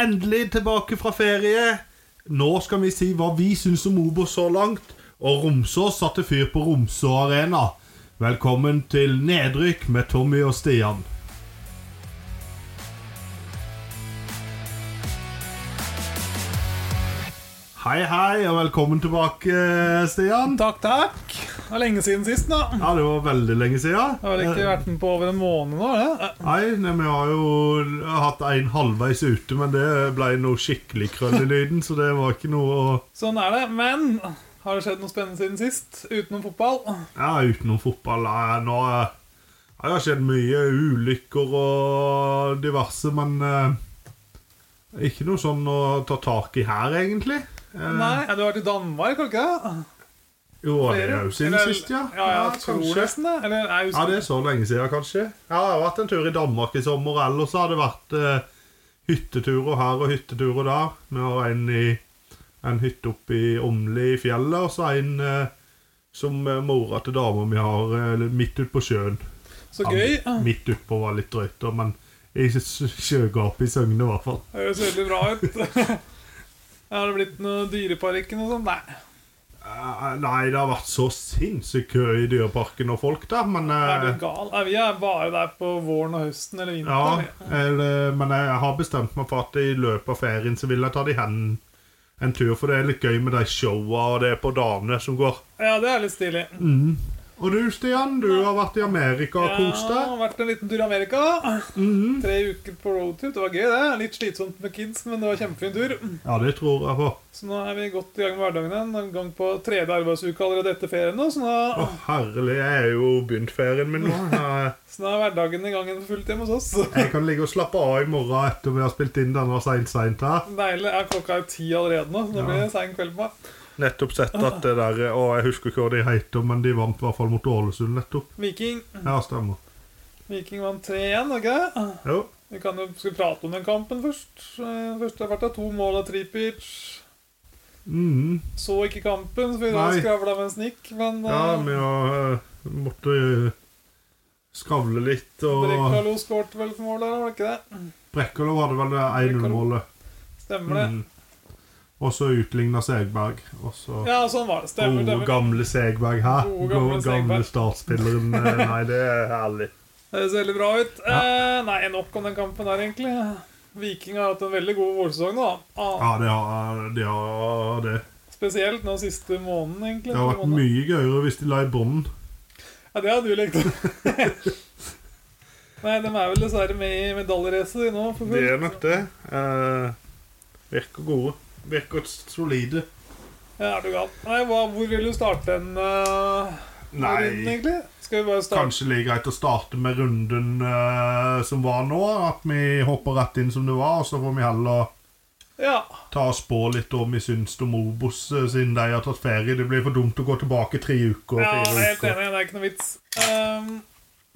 endelig tilbake fra ferie. Nå skal vi si hva vi syns om Obos så langt. Og Romsås satte fyr på Romså Arena. Velkommen til Nedrykk med Tommy og Stian. Hei, hei, og velkommen tilbake, Stian. Takk, takk. Det er lenge siden sist, da. Det Ja, det var veldig lenge siden. har vel ikke vært med på over en måned nå? Det. Nei, nei, vi har jo hatt en halvveis ute, men det ble noe skikkelig krøll i lyden, så det var ikke noe å Sånn er det. Men har det skjedd noe spennende siden sist? Utenom fotball? Ja, utenom fotball. Nei, nå eh, ja, Det har skjedd mye ulykker og diverse, men eh, ikke noe sånn å ta tak i her, egentlig. Eh, Nei, ja, du har vært i Danmark, har du ikke det? Jo, det er jo siden Eller- sist, ja. Ja, ja, jeg tror kanskje. nesten det. Eller, jeg Ja, husker. det er så lenge siden, kanskje. Ja, jeg har vært en tur i Danmark i sommer, ellers har det vært eh, hytteturer her og hytteturer der. Vi har en, i, en hytte oppe i Åmli i fjellet, og så en eh, som eh, mora til dama mi har eh, midt ute på sjøen. Så gøy. Ja, midt utpå var litt drøyt, da, men i s- sjøgapet i Søgne, i hvert fall. Det høres veldig bra ut. Har det blitt noe Dyreparken og sånn? Nei. Eh, Nei, det har vært så sinnssykt kø i Dyreparken og folk der, men Er eh, du gal? Nei, vi er bare der på våren og høsten eller Ja, vinteren. eller, men jeg har bestemt meg for at i løpet av ferien så vil jeg ta de hen en tur, for det er litt gøy med de showa og det på dagene som går. Ja, ja det er litt stilig. Og du, Stian, du har vært i Amerika og kost Ja, deg. har vært en liten tur i Amerika. Mhm. Tre uker på roadtrip. Det var gøy, det. Litt slitsomt med kids, men det var kjempefin tur. Ja, det tror jeg på. Så nå er vi godt i gang med hverdagen igjen. En gang på tredje arbeidsuke allerede etter ferien. nå, Å, Så nå, herlig, jeg er jo begynt ferien min nå. Jeg, så nå er hverdagen i gang igjen for fullt hjemme hos oss. jeg kan ligge og slappe av i morgen etter vi har spilt inn denne seint, seint her. Deilig. Ja, klokka er jo ti allerede nå, så det blir sein kveld på meg. Nettopp sett at det der Å, jeg husker ikke hva de heter, men de vant i hvert fall mot Ålesund nettopp. Viking Ja, stemmer. Viking vant 3-1, var ikke det? Jo. Vi kan jo skal vi prate om den kampen først. Eh, Først har vært av to mål av Tripic. Mm. Så ikke kampen, så vi Nei. skravla med en snikk, men Ja, vi har, eh, måtte eh, skravle litt, og Brekkalo skårte vel for mål der, var det ikke det? Brekkalo var det vel det 1-0-målet. Stemmer det? Mm. Og så utligna Segberg. Og så Ja, sånn var det. Stemmer, Gode, stemmer. gamle Segberg her. Gode, gamle Gode, gamle Segberg. startspilleren. eh, Nei, det er herlig. Det ser veldig bra ut. Eh, nei, nok om den kampen der, egentlig. Viking har hatt en veldig god vårsesong nå. da. Ah, Ja, det har eh, de har det. spesielt nå siste måneden, egentlig. Det har vært Måneden. mye gøyere hvis de la i bånd. Ja, det hadde du likt. nei, de er vel dessverre med i medaljeracet de nå. For fullt. det. Eh, virker gode. Virker solide. Ja, er du gal. Nei, hva, hvor vil du starte den eh, runden, Nei, egentlig? Skal vi bare starte Kanskje like greit å starte med runden eh, som var nå. At vi hopper rett inn som det var, og så får vi heller Ja. ta og spå litt om vi syns om Obos, eh, siden de har tatt ferie. Det blir for dumt å gå tilbake tre uker. ja, jeg er fire helt uker. enig. Det er ikke noe vits. Ehm,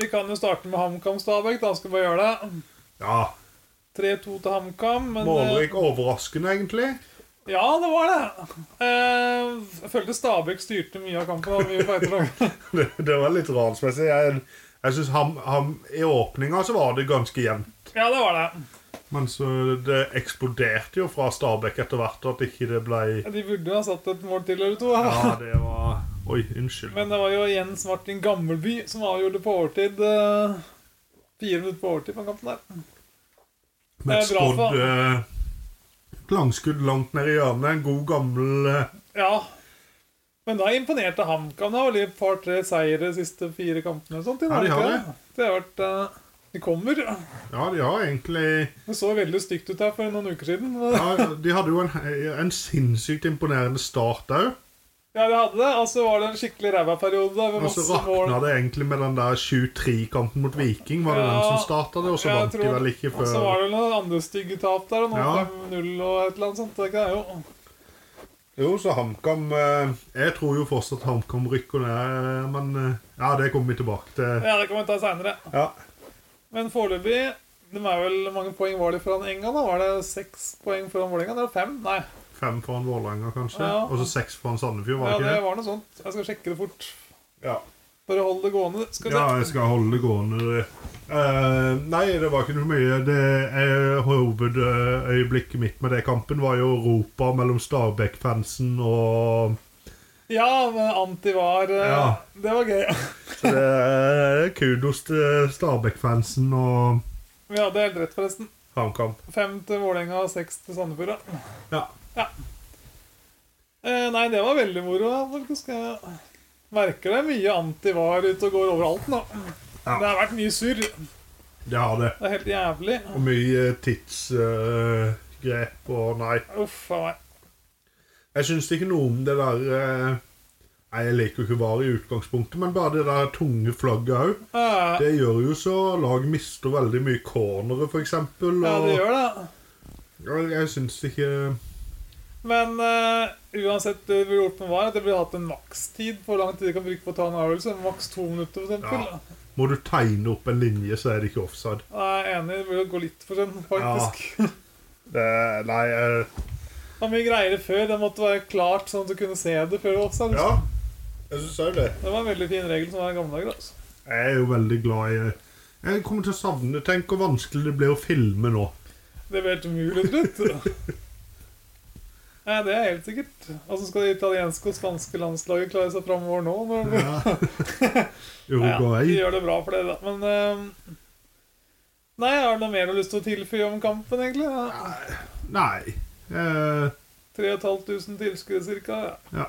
vi kan jo starte med HamKam Stabæk. Da skal vi bare gjøre det. Ja, 3-2 til HamKam. Men eh, Målrik overraskende, egentlig. Ja, det var det. Eh, jeg følte Stabæk styrte mye av kampen. da, Mye fighter. Det, det var litt ransmessig. Jeg, jeg syns ham, ham I åpninga så var det ganske jevnt. ja, det var det. Men så det eksploderte jo fra Stabæk etter hvert, at ikke det ble De burde ha satt et mål til eller to. da. Ja, det var Oi, unnskyld. Ah. Men det var jo Jens Martin Gammelby som avgjorde på overtid. eh, fire minutter på overtid på den kampen der. Med et Det er bra spådd eh, langskudd langt ned i hjørnet. En god, gammel eh, Ja. Men da imponerte HamKam. Det var et par-tre seire de siste fire kampene. og Sånt, Ja, de har ikke Det har vært eh, De kommer. Ja, de har egentlig Det så veldig stygt ut her for noen uker siden. Ja, ja, De hadde jo en, eh, en sinnssykt imponerende start òg. de hadde det. Og så var det en skikkelig ræva periode. da, Med Og så masse mål. rakna det egentlig med den der 7-3-kampen mot Viking. Var det Ja, den som starta det, og så jeg vant de tror- vel ikke Og så var før det vel noen andre stygge tap der, og nå Ja. 5-0 og et eller annet sånt. Det er ikke det, jo. Jo, så HamKam eh, Jeg tror jo fortsatt HamKam rykker ned, men eh, ja, det kommer vi tilbake til. Ja, det kan vi ta seinere. Ja. Men foreløpig de er vel, Hvor mange poeng var de foran Enga? da? Var det seks poeng foran Vålerenga? Eller fem? Nei. Fem foran Vålerenga, kanskje. Ja. Og så seks foran Sandefjord, var Ja, det ikke det det? var noe sånt. Jeg skal sjekke det fort. Ja. Bare hold det gående. Skal vi Ja, se. jeg skal holde det gående. Eh, nei, det var ikke noe mye. Det eh, Hovedøyeblikket mitt med det kampen var jo ropa mellom Stabæk-fansen og Ja, men anti var eh, Ja. Det var gøy. Så det er kudos til Stabæk-fansen og Vi hadde helt rett, forresten. HamKam. Fem til Vålerenga og seks til Sandefjord. da. Ja. Eh, nei, det var veldig moro, da, faktisk. Jeg merker det er mye anti-var ute og går overalt nå. Ja. Det har vært mye surr. Det har det. Det er helt jævlig. Og mye tidsgrep og nei. Uff a meg. Jeg syns ikke noe om det der eh, Nei, jeg liker jo ikke VAR i utgangspunktet, men bare det der tunge flagget òg. Eh, Det gjør jo så lag mister veldig mye cornere, f.eks. ja, det gjør det. Jeg, jeg syns ikke Men eh, uansett det vi har gjort med var, at det blir hatt en makstid på hvor lang tid de kan bruke på å ta en avgjørelse. Maks to minutter, for eksempel. Ja. Må du tegne opp en linje, så er det ikke offside. Jeg er enig, det burde gå litt for sent, faktisk. Det, nei eh, Det var mye greiere før. Det måtte være klart, sånn at du kunne se det før det var offside. Ja, jeg syns òg det. Det var en veldig fin regel som var i gamle dager. altså. Jeg er jo veldig glad i Jeg kommer til å savne Tenk hvor vanskelig det blir å filme nå. Det ble helt umulig til slutt. Nei, det er helt sikkert. Altså skal det italienske og spanske landslaget klare seg framover nå? Når... Ja, Ja. ja, de Uruguay. gjør det bra for det, da. Men ehm, Nei, har du noe mer du har lyst til å tilføye om kampen, egentlig? Ja. Nei. Eh, 3500 tilskuere ca. ja.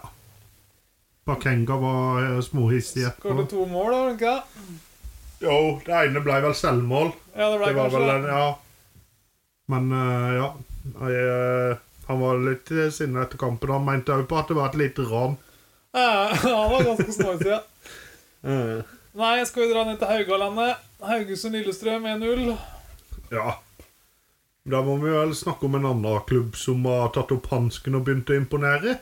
Bakenga var eh, småhissig etterpå. Skåret to mål, da, var det ikke det? Jo, det ene ble vel selvmål. Ja, det ble Det var kanskje vel det. en, ja. Men eh, ja. Jeg, eh, han var litt sinna etter kampen. Han mente òg på at det var et lite ran. Ja, han var ganske snorsig, ja. Eh. Nei, skal vi dra ned til Haugalandet? Haugesund-Lillestrøm 1-0. Ja. Da må vi vel snakke om en annen klubb som har tatt opp hansken og begynt å imponere.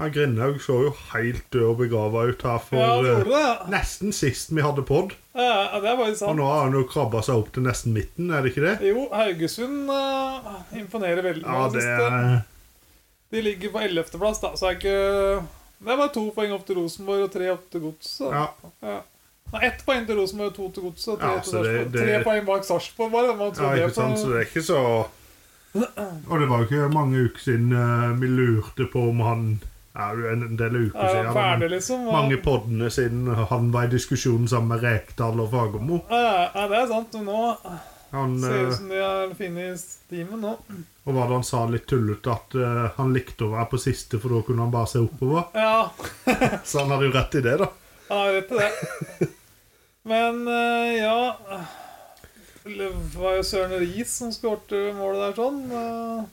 Ja, Grindhaug så jo helt død og begrava ut her for Ja, han eh, gjorde det. nesten sist vi hadde pod. Ja, det er bare Og sant. nå har han jo krabba seg opp til nesten midten, er det ikke det? Jo, Haugesund eh, imponerer veldig. Ja, nå i det siste. De ligger på 11.-plass, da, så er ikke Det er bare to poeng opp til Rosenborg og tre opp til Godset. ja, Ja. Nei, ett poeng til Rosenborg og to til Godset. og Tre, Ja, til så det- Sarpsborg. det- tre poeng bak Sarpsborg, bare. Man ja, tror det ikke sant, så på det er ikke så Og det var jo ikke mange uker siden eh, vi lurte på om han ja, det er en del uker er siden. ferdig, men liksom. og- Mange poddene siden han var i diskusjon sammen med Rekdal og Fagermo. Ja, ja, det er sant. men Nå Han, ser det eh, ut som de har funnet stimen nå. Og hva da han sa litt tullete, at eh, han likte å være på siste, for da kunne han bare se oppover. Ja, Så han hadde jo rett i det, da. Han har rett i det. Men eh, ja Det var jo Søren Riis som skårte målet der sånn. eh,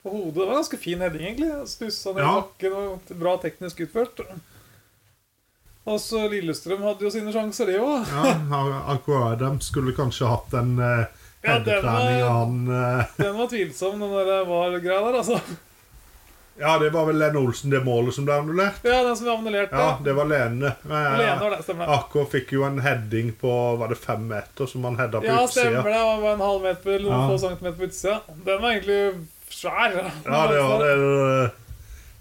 på hodet. Det var en ganske fin heading, egentlig. Stussa ned i Ja. bakken og bra teknisk utført. Og så Lillestrøm hadde jo sine sjanser, de òg. Ja, Ar- Aqua Adams skulle kanskje hatt den uh, Ja, den var- headetreninga han eh, Den var tvilsom, den der VAR-greia der, altså. Ja, det var vel Lene Olsen, det målet som ble annullert? Ja, den som vi annullerte. Ja, det var Lene. Eh, Lene var det, stemmer det. Aqua fikk jo en heading på var det fem meter, som han heada på Ja, utsida. stemmer det. Det var bare en halv meter eller noen Ah, Ja. få centimeter på utsida. Den var egentlig svær. Ja, det var det.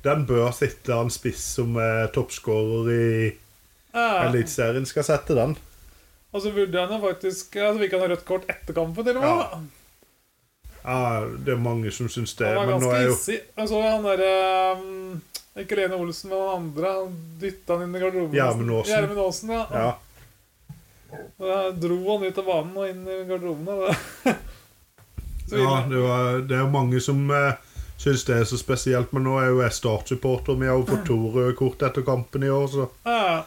Den bør sitte han spiss som er toppskårer i Ja. Eliteserien, skal sette den. Og så burde han jo faktisk altså, Fikk han rødt kort etter kampen, til og med? Ja, da. Ja, det er mange som syns det, han var men nå ganske er jo hissig. Jeg så han derre Ikke Lene Olsen, men han andre. Han dytta han inn i garderoben. Gjermund Aasen. Gjermund Aasen, ja. Ja. Da dro han ut av banen og inn i garderoben. da. så Ja, ille. det, var, det er jo mange som eh, syns det er så spesielt, men nå er jo jeg Start-supporter. Vi har jo fått to røde kort etter kampen i år, så Ja,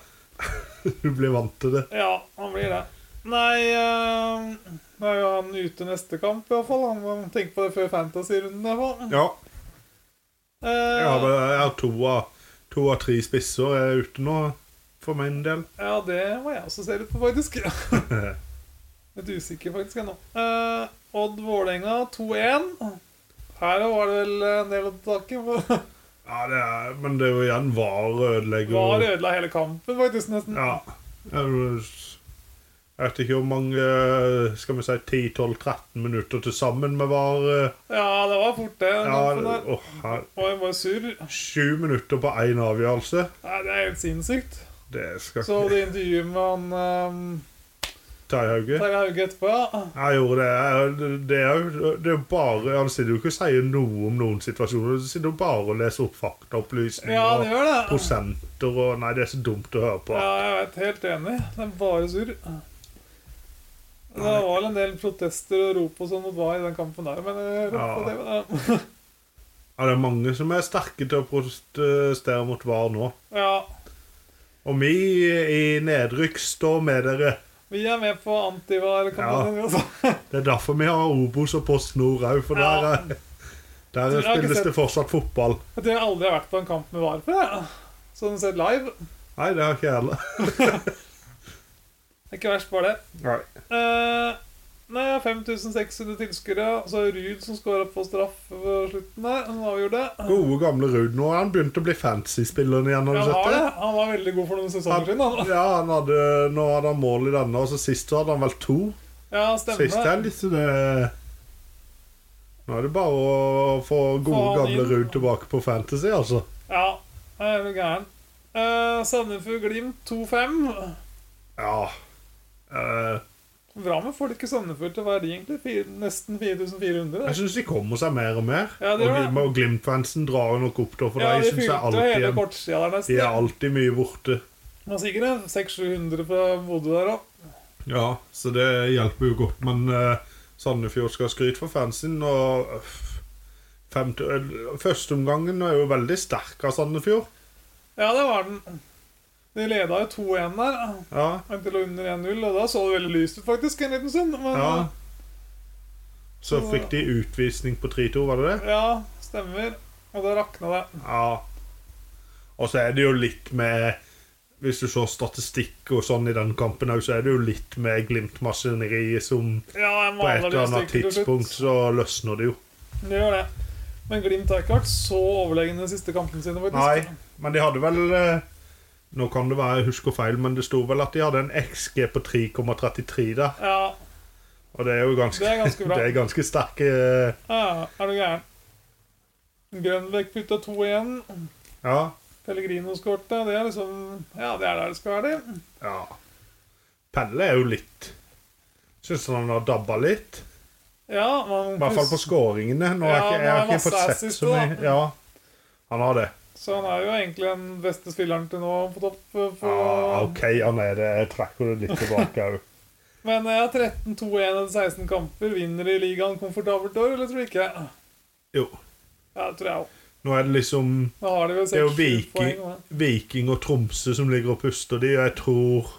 du blir vant til det. ja, han blir det. Nei eh, Da er jo han ute neste kamp, iallfall. Han må tenke på det før Fantasy-runden, iallfall. Ja, jeg har, fall. Eh, jeg har to, av, to av tre spisser er ute nå, for min del. ja, det må jeg også se litt på, faktisk. ja, Litt usikker faktisk ennå. Eh, Odd Vålerenga 2-1. Her var det vel en del å ta tak i. for det er, men det er jo igjen VAR ødelegger VAR ødela hele kampen, faktisk. nesten. Ja. Jeg vet ikke hvor mange Skal vi si 10-12-13 minutter til sammen med VAR. eh, Ja, det var fort, det. den Ja, kampen der. åh, her- Og jeg var sur. Sju minutter på én avgjørelse. Nei, det er helt sinnssykt. Det skal Så ikke det intervjuet med han ehm, Terje Hauge. Terje Hauge etterpå, ja. Jeg gjorde det. Jeg, det er jo det er jo bare Han sitter jo ikke og sier noe om noen situasjoner. Han sitter jo bare og leser opp faktaopplysninger Ja, det gjør og det. prosenter og Nei, det er så dumt å høre på. Ja, jeg vet. Helt enig. Det er bare surr. Det Nei. var vel en del protester og rop og sånn mot hva i den kampen der, men jeg hørte på det, men, eh, ja. Ja, det er mange som er sterke til å protestere mot VAR nå. ja. Og vi i nedrykk står med dere. Vi er med på antivar-kampanjen. Ja. Det er derfor vi har Obos og Post Nord òg, for der, Ja. er- der Jeg har ikke spilles det sett- fortsatt fotball. Jeg tror jeg aldri har vært på en kamp med VAR før. jeg. Sånn sett live. Nei, det har ikke jeg heller. Det er Ikke verst, bare det. Nei. Eh, nei, jeg har 5600 tilskuere. og Så er Ruud som skåra på straffe på slutten der. Han avgjorde. Gode gamle Ruud nå. Han begynte å bli fancy-spilleren igjen. Ja, Har du Han sett har det. det? Han var veldig god for noen sesonger siden. Han, Han. ja, han hadde, nå hadde han mål i denne, og så sist så hadde han vel to. Ja, stemmer. Sist helg, så det Nå er det bare å få gode han gamle inn. Ruud tilbake på Fantasy, altså. Ja, jeg er du gæren. Eh, Sandefjord-Glimt 2-5. Ja. Eh, Bra med folk i Sandefjord til verdi, egentlig. Fire, nesten 4400. jeg syns de kommer seg mer og mer. Ja, det og gjør Glim- og Glimt-fansen drar jo nok opp, da, for Ja, de de syns jeg fylte alltid hele en- kortsida der nesten. De er alltid mye borte. Det var sikkert en 600-700 fra Bodø der òg. Ja, så det hjelper jo godt. Men eh, Sandefjord skal ha skryt for fansen. Og øff, femte, eh, førsteomgangen er jo veldig sterk av Sandefjord. Ja, det var den. De leda jo 2-1 der, Ja, inntil det lå under 1-0, og da så det veldig lyst ut faktisk en liten stund. Men ja, ja. Så fikk de utvisning på 3-2, var det det? stemmer. Og da rakna det. Ja. Og så er det jo litt med Hvis du ser statistikk og sånn i den kampen òg, så er det jo litt med Glimt-maskineriet som Ja, På jeg et maler eller det i annet stykker til tidspunkt slutt. så løsner det jo. Det gjør det. Men Glimt har ikke vært så overlegne de siste kampene sine, Nei, faktisk. men de hadde vel eh, Nå kan det være jeg husker feil, men det sto vel at de hadde en XG på 3,33 der. Ja, Og det er jo ganske, Det er ganske bra. det er ganske sterke eh, ja, er du gæren. Grønbekk putta 2 igjen. Ja. Pellegrino skårte. Det er liksom Ja, det er der det skal være, det. ja. Pelle er jo litt Syns han har dabba litt. Ja, man I hvert fall på skåringene. Nå har Ja, ikke, nå jeg har har ikke masse fått sett assist så mye. også, da. Ja, han har det. Så han er jo egentlig den beste spilleren til nå på topp. eh, På, Ja, OK, han er det. Jeg trekker det litt tilbake òg. Men eh, jeg har 13-2-1 etter 16 kamper. Vinner i ligaen komfortabelt år, eller tror du ikke? Jo. Ja, det tror jeg òg. Nå er det liksom Da har de vel Det er jo 6-7 Viking, poeng. da. Viking og Tromsø som ligger og puster de, og jeg tror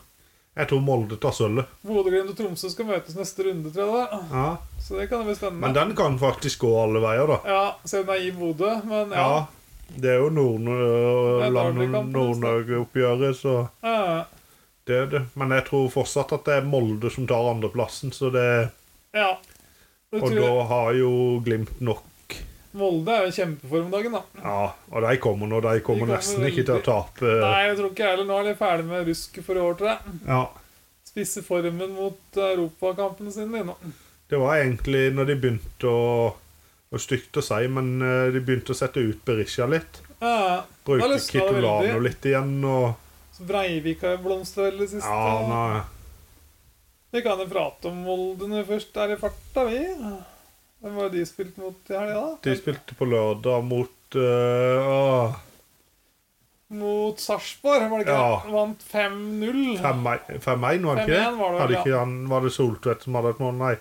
Jeg tror Molde tar sølvet. Bodø, Glimt og Tromsø skal møtes neste runde, tror jeg. da. Ja. Så det kan jo Men bli spennende. den kan faktisk gå alle veier, da. Ja, selv om det er i Bodø, men ja. Ja. Det er jo Det er dårlig Nord- kamp, Nord-Norge-oppgjøret, så Ja, det er det. Men jeg tror fortsatt at det er Molde som tar andreplassen, så det ja. Det Og tror da jeg. har jo Glimt nok Molde er jo i kjempeform om dagen, da. Ja, og de kommer nå. De kommer kommer nesten ikke til å veldig- tape. Nei, jeg tror ikke jeg heller. Nå er de ferdig med rusket for i år, tror jeg. Ja. Spisse formen mot europakampene sine. de nå. Det var egentlig når de begynte å Og stygt å si, men eh, de begynte å sette ut Berisha litt. Ja, Da Bruke løsna det Kitolano veldig. litt igjen og Så Breivik har jo blomstra veldig sist. Ja, nei. Vi kan jo prate om Molde når vi først er i farta, vi. Hvem var det de spilte mot i helga, da? De spilte på lørdag mot eh, uh, Mot Sarpsborg, var det ikke? Ja. det? Vant 5-0. 5-1, var det ikke det? 5-1 var det vel, Hadde ja. ikke han, var det Soltvedt som hadde et mål? Nei.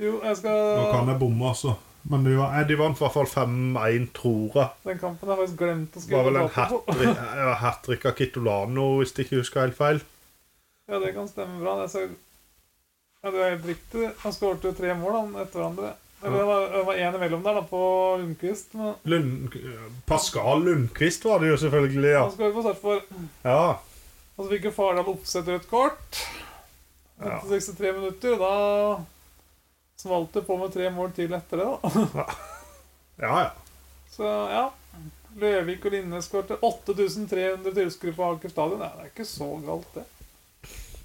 Jo, jeg skal jeg bomme, altså. Men de, var, eh, de vant i hvert fall 5-1, tror jeg. Den kampen har jeg faktisk glemt å Det var skrive vel en dato på. hat trick av Kitolano, hvis jeg ikke husker helt feil. Ja, det kan stemme bra. Det ser... Ja, det er helt riktig. Han skåret jo tre mål han, etter hverandre. Eller det var- det var én imellom der, da, på Lundqvist. Men Lund, Pascal Lundqvist var det jo selvfølgelig, ja. han skåret på Sarpsborg. ja. Og så fikk jo Fardal oppsett rødt kort. Ja. Etter 63 minutter. og Da smalt det på med tre mål til etter det, da. Ja, ja. Så ja. Løvik og Linnes skårte 8300 tilskuere på Aker stadion. Nei, det er ikke så galt, det.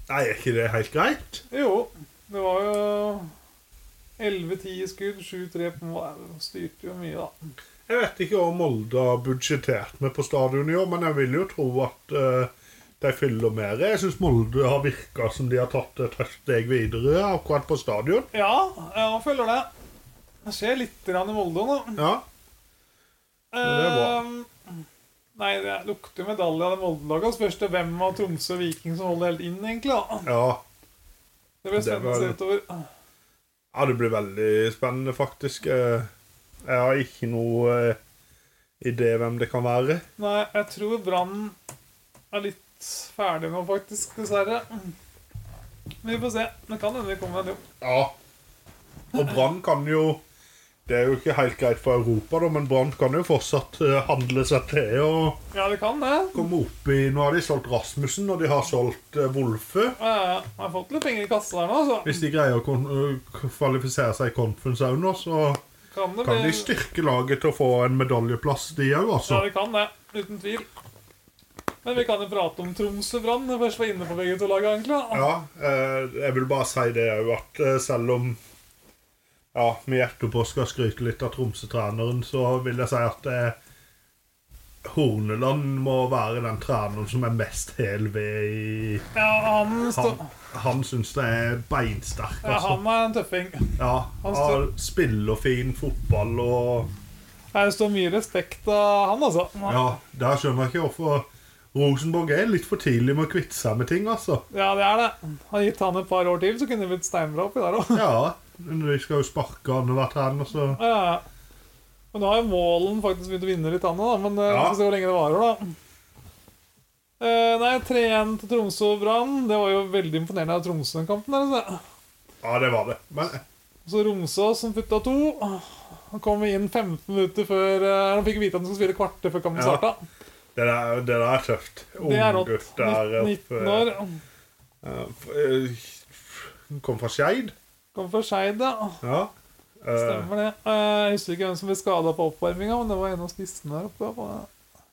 Nei, er ikke det helt greit? Jo, det var jo 11-10 i skudd, 7-3 på mål. Nei, De styrte jo mye, da. Jeg vet ikke hva Molde har budsjettert med på stadion i år, men jeg vil jo tro at eh, de fyller mer. Jeg syns Molde har virka som de har tatt et steg videre akkurat på stadion. Ja, jeg føler det. Det skjer litt grann i Molde nå. Ja, det er bra. Ehm, nei, det lukter medalje av det Molde-laget. Spørs det hvem av Tromsø og Viking som holder helt inn, egentlig. da. ja. Det blir Det er spennende å se utover. ja det blir veldig spennende, faktisk. Eh, Jeg har ikke noe eh, idé hvem det kan være. Nei, jeg tror Brann er litt ferdig nå, faktisk, dessverre. Men vi får se. Det kan hende vi kommer med en jobb. Ja. Og Brann kan jo Det er jo ikke helt greit for Europa, da, men Brann kan jo fortsatt eh, handle seg til og Ja, det kan det. komme opp i Nå har de solgt Rasmussen, og de har solgt eh, Wolfe. Ja, ja, ja. Jeg har fått litt penger i kassa her nå, så Hvis de greier å kon- øh, kvalifisere seg i Conference òg nå, så kan det kan de bli styrke laget til å få en medaljeplass, de òg, altså. Ja, vi kan det. Uten tvil. Men vi kan jo prate om Tromsø Brann. når vi Først var inne på begge to laga, egentlig. da. Ja, eh, jeg vil bare si det òg, at eh, selv om ja, vi etterpå skal skryte litt av Tromsø-treneren, så vil jeg si at eh, Horneland må være den treneren som er mest hel ved i Ja, han, stå... Han, han syns det er beinsterk, ja, altså. han er en tøffing. Ja, han han spiller fin fotball og Jeg står mye respekt av han, altså. Ja, der skjønner jeg ikke hvorfor Rosenborg er litt for tidlig med å kvitte seg med ting, altså. Ja, det er det. Hadde gitt han et par år til, så kunne det blitt steinbra oppi der òg. Ja, men de skal jo sparke annethvert hen, og så Ja, ja. Men nå har jo Målen faktisk begynt å vinne litt, han òg, men eh, vi Ja. får se hvor lenge det varer, da. Eh, nei, 3-1 til Tromsø og Brann. Det var jo veldig imponerende av Tromsø den kampen. der, altså. Ja, det var det. Men Så Romsås som putta to. Han kom inn 15 minutter før eh, Han fikk vite at han skulle spille kvarter før kampen Ja. starta. det der, det der er tøft. Det er rått. Unggutt der eh, 19, 19 år. oppe Hun eh, kom fra Skeid. Kom for Skeid, ja. Ja. Eh, Stemmer det. Eh, Jeg husker ikke hvem som ble skada på oppvarminga, men det var en av spissene der oppe. ja.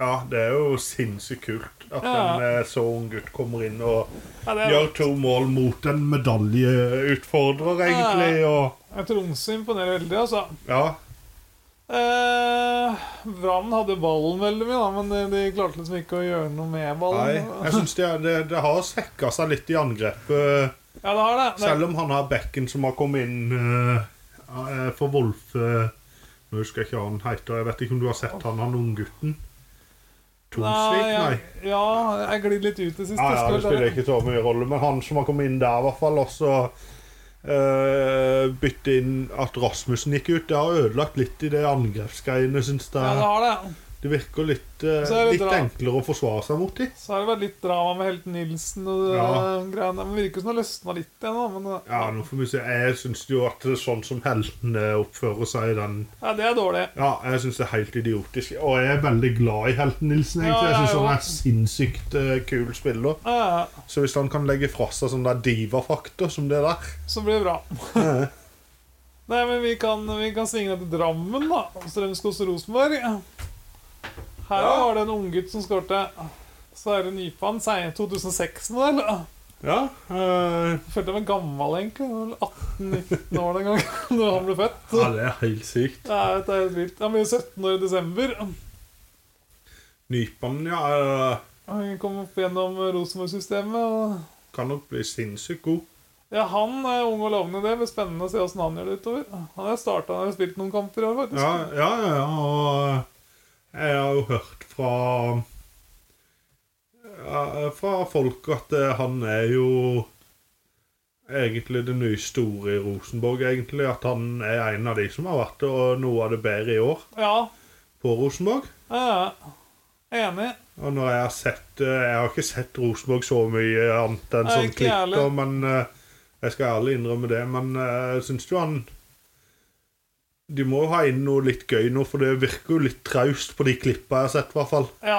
ja, det er jo sinnssykt kult at Ja. en eh, så ung gutt kommer inn og Ja, det gjør to mål mot en medaljeutfordrer, egentlig, og er, Tromsø imponerer veldig, altså. Ja. Eh, Brann hadde ballen veldig mye, da, men de, de klarte liksom ikke å gjøre noe med Nei, ballen. jeg syns det, er- det, det har svekka seg litt i angrepet. Ja, det har det. det Selv om han har bekken som har kommet inn eh, eh, for Wolf eh, Nå husker jeg ikke hva han heter. Jeg vet ikke om du har sett han, han unggutten? Tonsvik? Nei. jeg, ja, jeg glidde litt ut det siste. Ja, ja, skulle det jeg spiller klare. ikke så mye rolle, men han som har kommet inn der, i hvert fall, og så eh, bytte inn at Rasmussen gikk ut. Det har ødelagt litt i det angrepsgreiene, syns ja, det jeg. har det. Det virker litt, eh, Så er det litt dra- enklere å forsvare seg mot de. Så har det vært litt drama med Helt Nilsen og det Ja. greiene. Men det virker som det har løsna litt igjen. da, Men det- Ja, nå får vi se. Jeg syns jo at det er sånn som heltene oppfører seg i den ja, det er dårlig. Ja, jeg syns det er helt idiotisk. Og jeg er veldig glad i helten Nilsen. egentlig. Jeg Ja, jeg syns han òg. er sinnssykt eh, kul spiller. Ja, ja, Så hvis han kan legge fra seg sånn der divafaktor som det der så blir det bra. Nei, men vi kan, vi kan svinge ned til Drammen, da. Strømskos Rosenborg. Her Ja. var det en unggutt som skårte. ah, Sverre Nypan, 2006-modell. Ja. eh, Ah, Følte meg gammel, egentlig. Jeg var vel 18-19 år den gangen da han ble født. ja, det er helt sykt. Det er, det er helt vilt. Han blir jo 17 år i desember. Nypan, ja. eh, Han kom opp gjennom Rosenborg-systemet. og... kan nok bli sinnssykt god. Ja, han er ung og lovende. Det blir spennende å se åssen han gjør det utover. Han har startet, han har spilt noen kamper i år, faktisk. Ja, ja, ja. ja, Og jeg har jo hørt fra ja, Fra folk at eh, han er jo egentlig det nye store i Rosenborg, egentlig. At han er en av de som har vært og noe av det bedre i år. Ja, på Rosenborg. ja, ja. Enig. Og når jeg har sett eh, Jeg har ikke sett Rosenborg så mye annet enn Nei, sånn ikke klipp, ærlig. men eh, jeg skal ærlig innrømme det. Men eh, jeg syns jo han De må jo ha inn noe litt gøy nå, for det virker jo litt traust på de klippa jeg har sett, i hvert fall. Ja,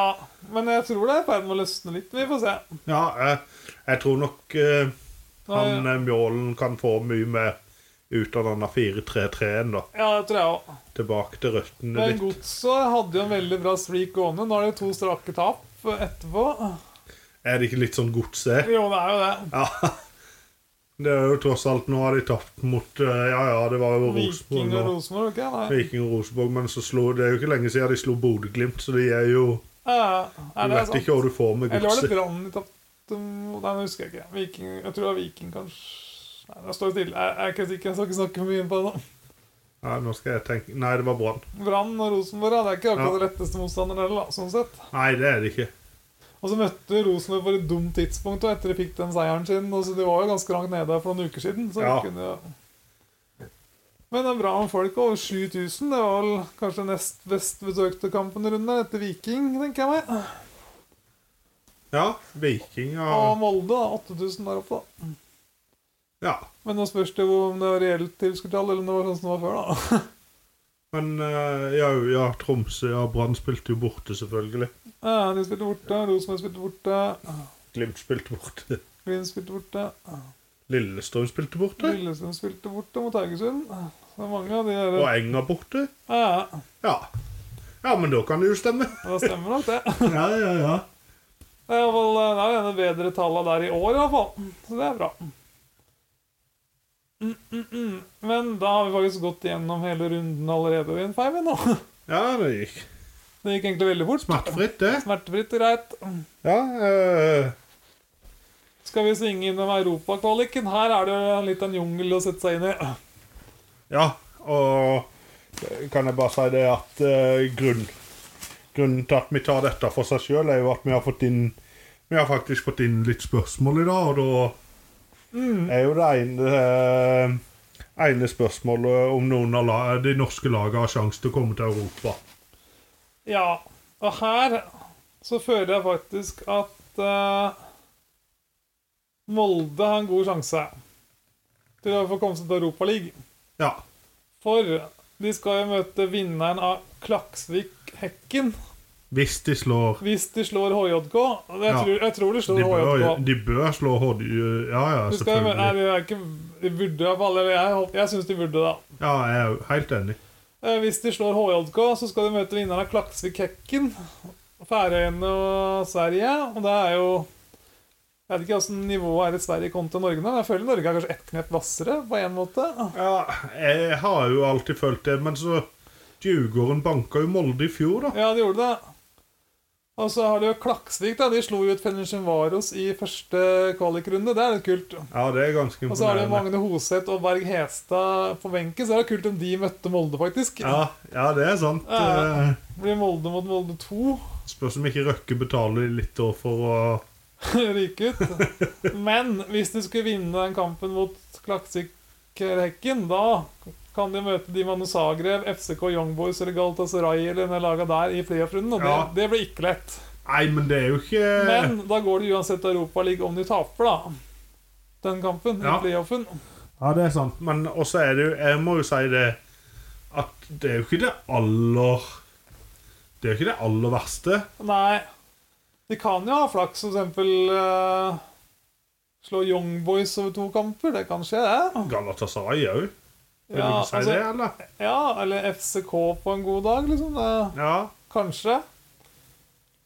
men jeg tror det er i ferd med å løsne litt. Vi får se. Ja, jeg, jeg tror nok eh, Nå, han eh, Mjålen kan få mye mer ut av denne 4-3-3-en, da. ja, det tror jeg òg. Tilbake til røttene Men litt. Godset hadde jo en veldig bra streak gående. Nå er det to strake tap etterpå. Er det ikke litt sånn godse? Jo, det er jo det. Ja. Det er jo tross alt Nå har de tapt mot eh, Ja, ja, det var jo Viking Rosenborg og nå. Rosenborg, ikke Viking og Rosenborg, men så slo Det er jo ikke lenge siden de slo Bodø-Glimt, så de er jo Ja, ja, Du det er vet sant. ikke hva du får med Eller var det godset. Brann de tapte mot? Nei, det husker jeg ikke. Viking, jeg tror det var Viking, kanskje. Nei, det står stille. Jeg, jeg er ikke sikker, jeg skal ikke snakke for mye på det. nå. Nei, nå skal jeg tenke Nei, det var Brann. Brann og Rosenborg ja, det er ikke akkurat Ja. det letteste motstanderen heller, da, sånn sett. Nei, det er det ikke. Og så møtte Rosenborg på et dumt tidspunkt og etter de fikk den seieren sin. Og så De var jo ganske langt nede for noen uker siden. Så Ja. de kunne jo Men det er bra med folk. Over 7000. Det var vel kanskje nest best besøkte kampen i runden etter Viking, tenker jeg meg. Ja, Viking Og og Molde, da. 8000 der oppe, da. Ja. Men nå spørs det jo om det var reelt tilskuertall, eller om det var sånn som det var før, da. Men eh, ja, ja, Tromsø og Brann spilte jo borte, selvfølgelig. Ja, de spilte borte. Rosenborg spilte borte. Glimt spilte borte. Green spilte borte. Lillestrøm spilte borte. Lillesund spilte borte mot Haugesund. Så det er mange av de Og der Enga borte. Ja, Ja. Ja, men da kan det jo stemme. ja. det stemmer nok, det. Ja, ja, ja. Det er vel eh, det er jo en av de bedre tallene der i år, i hvert fall. Så det er bra. Mm, mm, mm. Men da har vi faktisk gått gjennom hele runden allerede i en fem nå. Ja, det gikk Det gikk egentlig veldig fort. smertefritt, det. Smertefritt og greit. Ja, eh, Skal vi svinge innom europakvaliken? Her er det jo litt av en jungel å sette seg inn i. ja. Og kan jeg bare si det at eh, grunnen, grunnen til at vi tar dette for seg sjøl, er jo at vi har fått inn Vi har faktisk fått inn litt spørsmål i dag, og da Mm. er jo det ene eh, ene spørsmålet om noen av la, eh, de norske lagene har sjanse til å komme til Europa. Ja, og her så føler jeg faktisk at eh, Molde har en god sjanse til å få komme seg til Europaligaen. Ja. For de skal jo møte vinneren av Klaksvik-Hekken Hvis de slår hvis de slår HJK. Og Jeg Ja. tror, jeg tror de De slår bør, HJK. de bør slå HD Ja, ja, De, skal, jo mø- nei, selvfølgelig. de, er ikke, de burde i hvert fall eller Jeg, håper- jeg syns de burde da. Ja, jeg er jo helt enig. Eh, Hvis de slår HJK, så skal de møte vinneren av Klaksvik-Hekken. Færøyene og Sverige. Og det er jo Jeg vet ikke åssen nivået er i Sverige kontra Norge nå. men Jeg føler Norge er kanskje ett knep hvassere på én måte. Ja, jeg har jo alltid følt det, men så Djurgården banka jo Molde i fjor, da. Ja, de gjorde det. Og så har de jo Klaksvik, da. De slo jo ut Fenershenvaros i første kvalikrunde. Det er litt kult. Ja, det er ganske Og så har de imponerende. Magne Hoseth og Berg Hestad på benken. Så er det kult om de møtte Molde, faktisk. Ja, ja, det er sant. Ja. Eh, Blir Molde mot Molde 2 Spørs om ikke Røkke betaler litt år for å ryke ut. Men hvis de skulle vinne den kampen mot Klaksvik-rekken, da kan de møte de Manu Zagreb, FCK Young Boys eller Galatasaray eller de laga der i playoff-runden, og det, Ja. det blir ikke lett. Nei, men det er jo ikke Men da går det uansett Europaligaen om de taper, da. Den kampen. Ja. I playoffen. Ja, det er sant. Men også er det jo Jeg må jo si det at det er jo ikke det aller Det er jo ikke det aller verste. Nei. De kan jo ha flaks, for eksempel eh, slå Young Boys over to kamper. Det kan skje, det. Galatasaray òg. Vil Ja, du ikke si altså- det, eller? Ja, eller FCK på en god dag, liksom. Det, Ja. kanskje.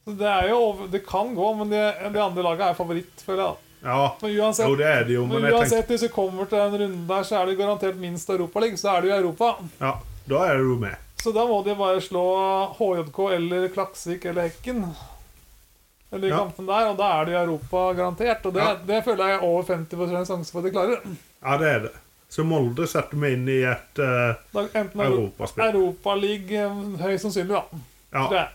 Så det er jo over Det kan gå, men de, de andre lagene er favoritt, føler jeg. da. ja. Men Jo, uansett, det er det jo, men men jeg tenker uansett hvis du kommer til den runden der, så er det garantert minst Europaliga. Så er du i Europa. Ja, da er du med. Så da må de bare slå HJK eller Klaksvik eller Hekken. Eller de Ja. kampene der, og da er det i Europa garantert. Og det, Ja. det føler jeg er over 50 sjanse for at de klarer. Ja, det er det. Så Molde setter vi inn i et eh, Da, enten Euro europaspill. Europaligaen eh, høyst sannsynlig, da. tror Ja, jeg.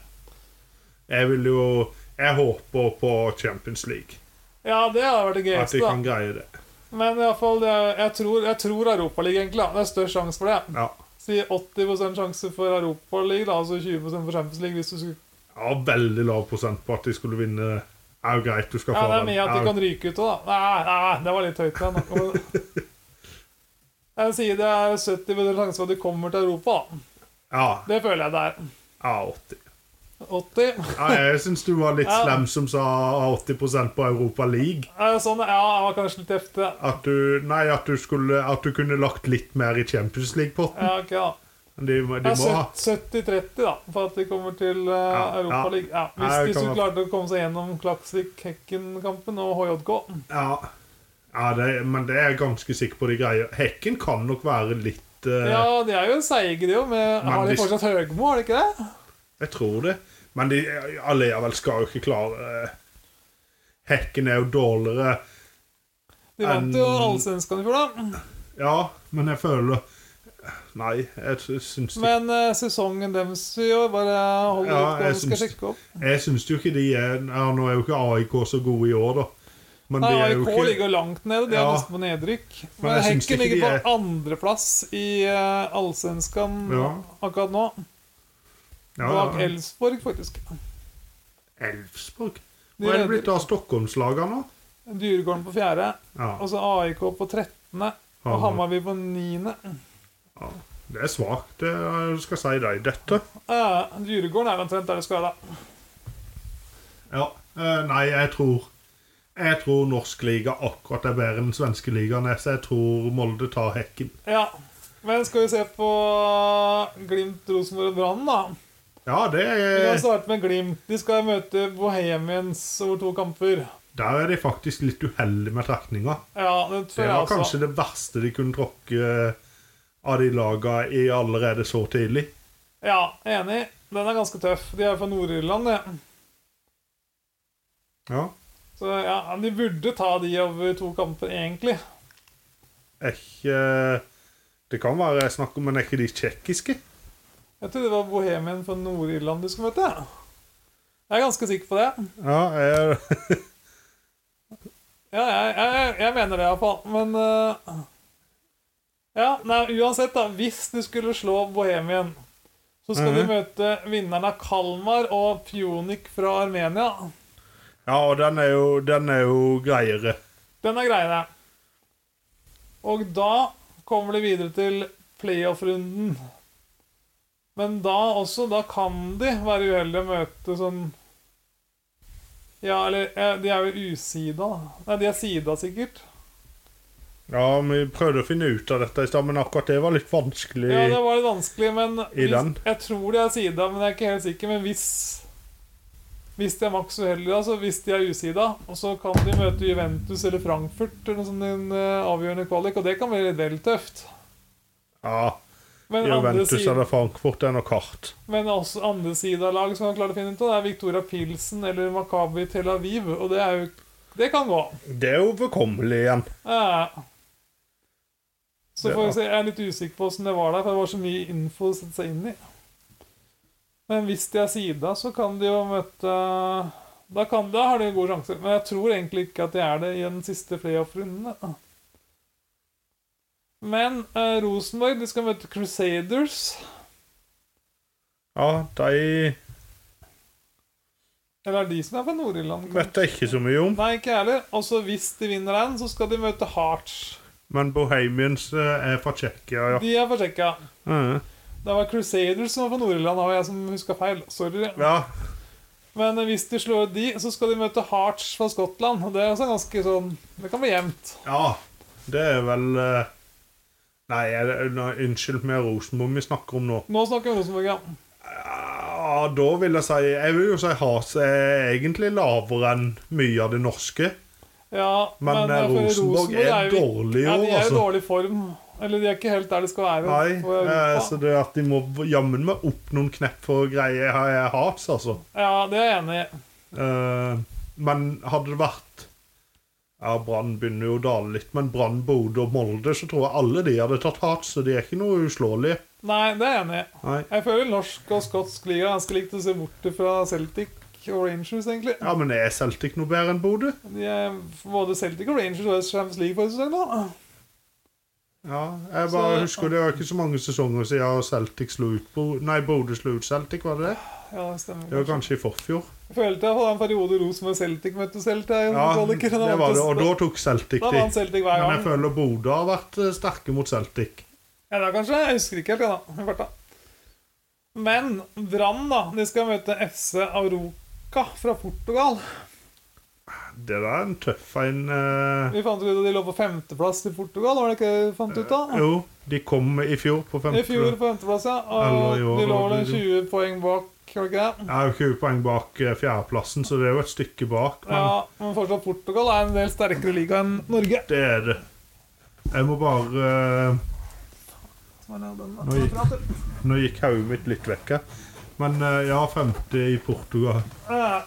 jeg vil jo Jeg håper på Champions League. Ja, det hadde vært det At de gøyeste, kan da. greie det. Men i alle fall, det er- jeg tror, jeg tror Europaligaen, egentlig. da. Det er størst sjanse for det. Ja, Si 80 sjanse for Europaligaen, da, altså 20 for Champions League. Hvis du skulle... ja veldig lav prosent på at de skulle vinne. Er jo greit, du skal Ja, få det er mye at Ja, de kan ryke ut òg, da. Nei, nei, det var litt høyt. Men. Jeg sier det er 70 sjanse for at du kommer til Europa. da. Ja, Det føler jeg det er. ja, 80. 80? Ja, jeg syns du var litt Ja. slem som sa 80 på Europa League. Er det sånn? Ja, jeg var kanskje litt heftig. da. At du, nei, at du, skulle, at du kunne lagt litt mer i Champions League-potten. Ja, ok, da. De, de Ja, må ha 70-30, da, for at de kommer til uh, Ja, Europaligaen. Ja, ja. hvis Ja, de det kan skulle være- klarte å komme seg gjennom Klaksvik-Hekken-kampen og HJK. Ja, ja det, men det er jeg ganske sikker på de greier. Hekken kan nok være litt eh, Ja, de er jo seige, de òg. Har de hvis- fortsatt Høgmo, har de ikke det? Jeg tror det. Men de, alle ja vel skal jo ikke klare eh, Hekken er jo dårligere. De vant jo Allsvenskan i fjor, da. Ja, men jeg føler Nei, jeg sy- syns de Men eh, sesongen deres i år bare holder Ja, opp, jeg og skal syns- sjekke opp. Jeg syns jo ikke de er ja, Nå er jo ikke AIK så gode i år, da. Men Nei, de er jo AIK ikke ligger langt nede. De er Ja. nesten på nedrykk. Men Men, jeg syns Henken ikke de ligger på er- andreplass i uh, Allsvenskan Ja. akkurat nå. ja, Bak ja. Elfsborg, faktisk. Elfsborg? De Hva er det leder- blitt av Stockholmslagene nå? Dyregården på fjerde. Ja, Og så AIK på trettende. Og Hamar. Hammarby på niende. det er svakt, det jeg skal si deg. Dette. Uh, Dyregården er omtrent der det skal være, da. Ja. eh, Nei, jeg tror Jeg tror norsk liga akkurat er bedre enn svenske ligaen. er, Så jeg tror Molde tar hekken. Ja. Men skal vi se på Glimt, Rosenborg og Brann, da. Ja, det Vi kan er, starte med Glimt. De skal møte Bohemians over to kamper. Der er de faktisk litt uheldige med trekninga. Ja, altså- det tror Det jeg var også. kanskje det verste de kunne tråkke eh, av de laga i allerede så tidlig. Ja, enig. Den er ganske tøff. De er fra Nord-Irland, det. Ja. Så ja, de burde ta de over to kamper, egentlig. Er ikke eh, Det kan være jeg snakker om, men er ikke de tsjekkiske? Jeg tror det var Bohemian fra Nord-Irland du skulle møte. Jeg er ganske sikker på det. Ja, jeg, Ja, jeg, jeg, jeg mener det iallfall. Men eh, Ja, nei, uansett, da. Hvis du skulle slå Bohemian, så skal Mhm. de møte vinneren av Kalmar og Pionik fra Armenia. ja og den er, jo, den er jo greiere. Den er grei, det. Og da kommer de videre til playoff-runden. Men da også, da kan de være uheldige og møte sånn Ja, eller eh, De er jo usida. Nei, de er sida, sikkert. Ja, vi prøvde å finne ut av dette i stad, men akkurat det var litt vanskelig. Ja, det var litt vanskelig, men I den? jeg tror de er sida, men jeg er ikke helt sikker. Men hvis Hvis de er maks uheldige, altså hvis de er usida, og så kan de møte Juventus eller Frankfurt eller noe sånt i en eh, avgjørende kvalik, og det kan bli vel tøft. Ja, Men andre, Juventus siden, eller Frankfurt er noe kart. men også andre sida av lag som kan klare å finne ut av det, er Victoria Pilsen eller Makabi Tel Aviv. Og det er jo Det kan gå. Det er overkommelig igjen. Eh. Så Det- får vi se. Jeg er litt usikker på åssen det var der, for det var så mye info å sette seg inn i. Men hvis de er sida, så kan de jo møte Da, kan, da har de gode sjanser. Men jeg tror egentlig ikke at de er det i den siste playoff-runden. Men eh, Rosenborg de skal møte Crusaders. Ja, de Eller er det de som er fra Nord-Irland? kanskje? vet jeg ikke så mye om. Nei, ikke jeg heller. Og så hvis de vinner den, så skal de møte Hearts. Men Bohemians eh, er fra Tsjekkia, ja. De er fra Tsjekkia. Mhm. Det var Crusaders som var fra Nord-Irland, og jeg som huska feil. Sorry. Ja, Men hvis de slår de, så skal de møte Hearts fra Skottland. Og det er også ganske sånn Det kan bli jevnt. ja. Det er vel eh, Nei, jeg, nå- unnskyld meg, Rosenborg vi snakker om nå. Nå snakker vi om Rosenborg, ja. Ja, da vil jeg si Jeg vil jo si Has er egentlig lavere enn mye av det norske. ja Men, eh, eh, for Rosenborg er jo- dårlig i ja, år, De er i altså. dårlig form. Eller de er ikke helt der de skal være. Nei, for Europa. eh, så det er at de må jammen meg opp noen knepp for å greie ha- Has, altså. Ja, det er jeg enig i. Eh, men hadde det vært Ja, Brann begynner jo å dale litt, men Brann, Bodø og Molde, så tror jeg alle de hadde tatt Has, så de er ikke noe uslåelige. Nei, det er jeg enig i. Nei. Jeg føler norsk og skotsk liga er ganske likt å se bort fra Celtic og Rangers, egentlig. Ja, men er Celtic noe bedre enn Bodø? De er både Celtic og Rangers var i Champions League forrige sesong, da. Ja, jeg bare Så- husker det var ikke så mange sesonger siden Celtic slo ut Bo Nei, Bodø slo ut Celtic, var det det? Ja, det stemmer. Det var kanskje kanskje. i forfjor. Jeg følte jeg hadde en periode Rosenborg Celtic møtte Celtic. i Ja, kvaliken, og det var da vant- det, og da tok Celtic Da de. vant Celtic hver Men jeg gang. føler Bodø har vært eh, sterke mot Celtic. Ja, da kanskje. Jeg husker ikke helt, jeg, da. I farta. Men Brann, da. De skal møte FC Auroca fra Portugal. Det der er en tøff en. eh. Vi fant ut at de lå på femteplass i Portugal, var det ikke det vi fant ut av? Eh, Jo, de kom i fjor på I fjor femte. på femteplass, ja. Eller Og i år, de lå var vel det jo. 20 poeng bak, var det ikke det? Jeg er jo 20 poeng bak eh, fjerdeplassen, så det er jo et stykke bak. Men Ja, men fortsatt Portugal er en del sterkere liga enn Norge. det er det. Jeg må bare eh, Nå gikk hodet mitt litt vekk her. Men eh, ja, femte i Portugal. Eh,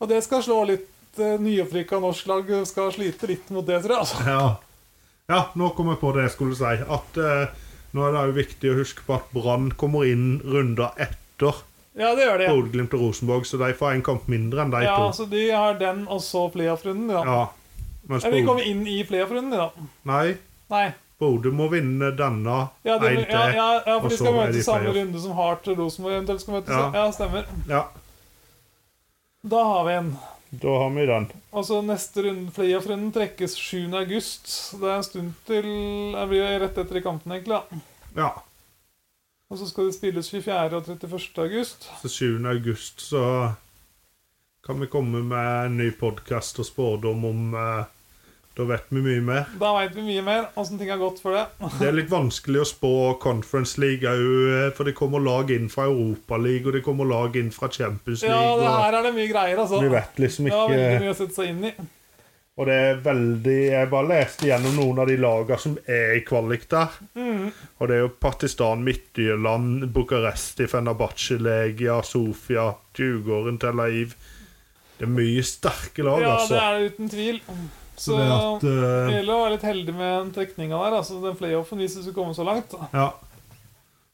Og det skal slå litt eh, Nyopprykka norsk lag skal slite litt mot det, tror jeg. altså. Ja. ja, nå kom jeg på det jeg skulle si. At eh, nå er det jo viktig å huske på at Brann kommer inn runder etter Ja, det gjør de. Bodø-Glimt og Rosenborg, så de får en kamp mindre enn de Ja, altså. to. så De har den, og så playoff-runden. Ja. Ja. Mens Ja, vi Bodø kommer inn i playoff-runden, ja. Nei, Nei. Bodø må vinne denne Ja, det, en ja, til. ja, ja, for og de så er skal de møte i samme playoff. runde som Hart og Rosenborg eventuelt skal møte. Ja. så- Ja, stemmer. Ja, Da har vi en. da har vi den. Og så neste runde, playoff-runden trekkes 7. august. så Det er en stund til Det blir jo rett etter i kampen, egentlig. da. Ja. Og så skal det spilles 24. og 31. august. Så 7. august så kan vi komme med en ny podkast og spådom om eh, Da vet vi mye mer. Da veit vi mye mer åssen ting har gått for det. Det er litt vanskelig å spå Conference League òg, for det kommer lag inn fra Europaligaen, og det kommer lag inn fra Champions Ja, League. det og her er det mye greier, altså. vi vet liksom Det var veldig ikke mye å sette seg inn i. Og det er veldig Jeg bare leste gjennom noen av de lagene som er i kvalik der. Mm. Og det er jo Partistan, Midtjylland, Bucuresti, Fenerbahçe, Legia, Sofia, Djugården, Tel Aviv Det er mye sterke lag, Ja, altså. det er det uten tvil. Så Så det at det eh, gjelder å være litt heldig med den trekninga der. altså Den playoffen hvis du skulle komme så langt. Ja.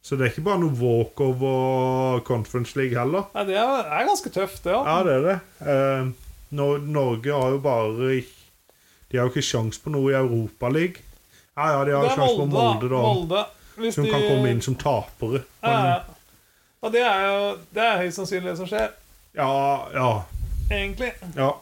Så det er ikke bare noe walkover Conference League heller. Nei, Det er, er ganske tøft, det. Ja. Ja, det er det. Eh, Nor- Norge har jo bare ikk- De har jo ikke sjans på noe i Europaligaen. Ja, ja, de har jo Det er sjans på Molde, Molde, da. da. Molde. Hvis Som kan komme inn som tapere. Men, eh, Ja, ja. og det er jo det er høyst sannsynlig det som skjer, ja, ja, egentlig. ja.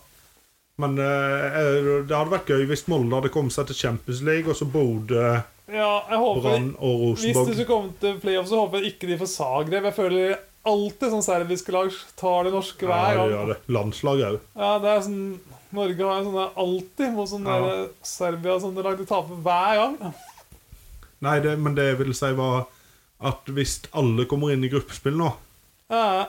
Men eh, det hadde vært gøy hvis Molde hadde kommet seg til Champions League, og så Bodø, Ja, jeg håper Brann og Hvis du Rosenborg. skulle komme til playoff, så håper jeg ikke de får Zagreb. Jeg føler alltid sånn serbiske lag tar det norske Ja, hver de gang. gjør det. Landslag òg. Ja, det er sånn Norge har jo sånne alltid mot sånne Ja. der Serbia og sånne lag. De taper hver gang. Nei, det, men det jeg ville si, var at hvis alle kommer inn i gruppespill nå, Ja, ja.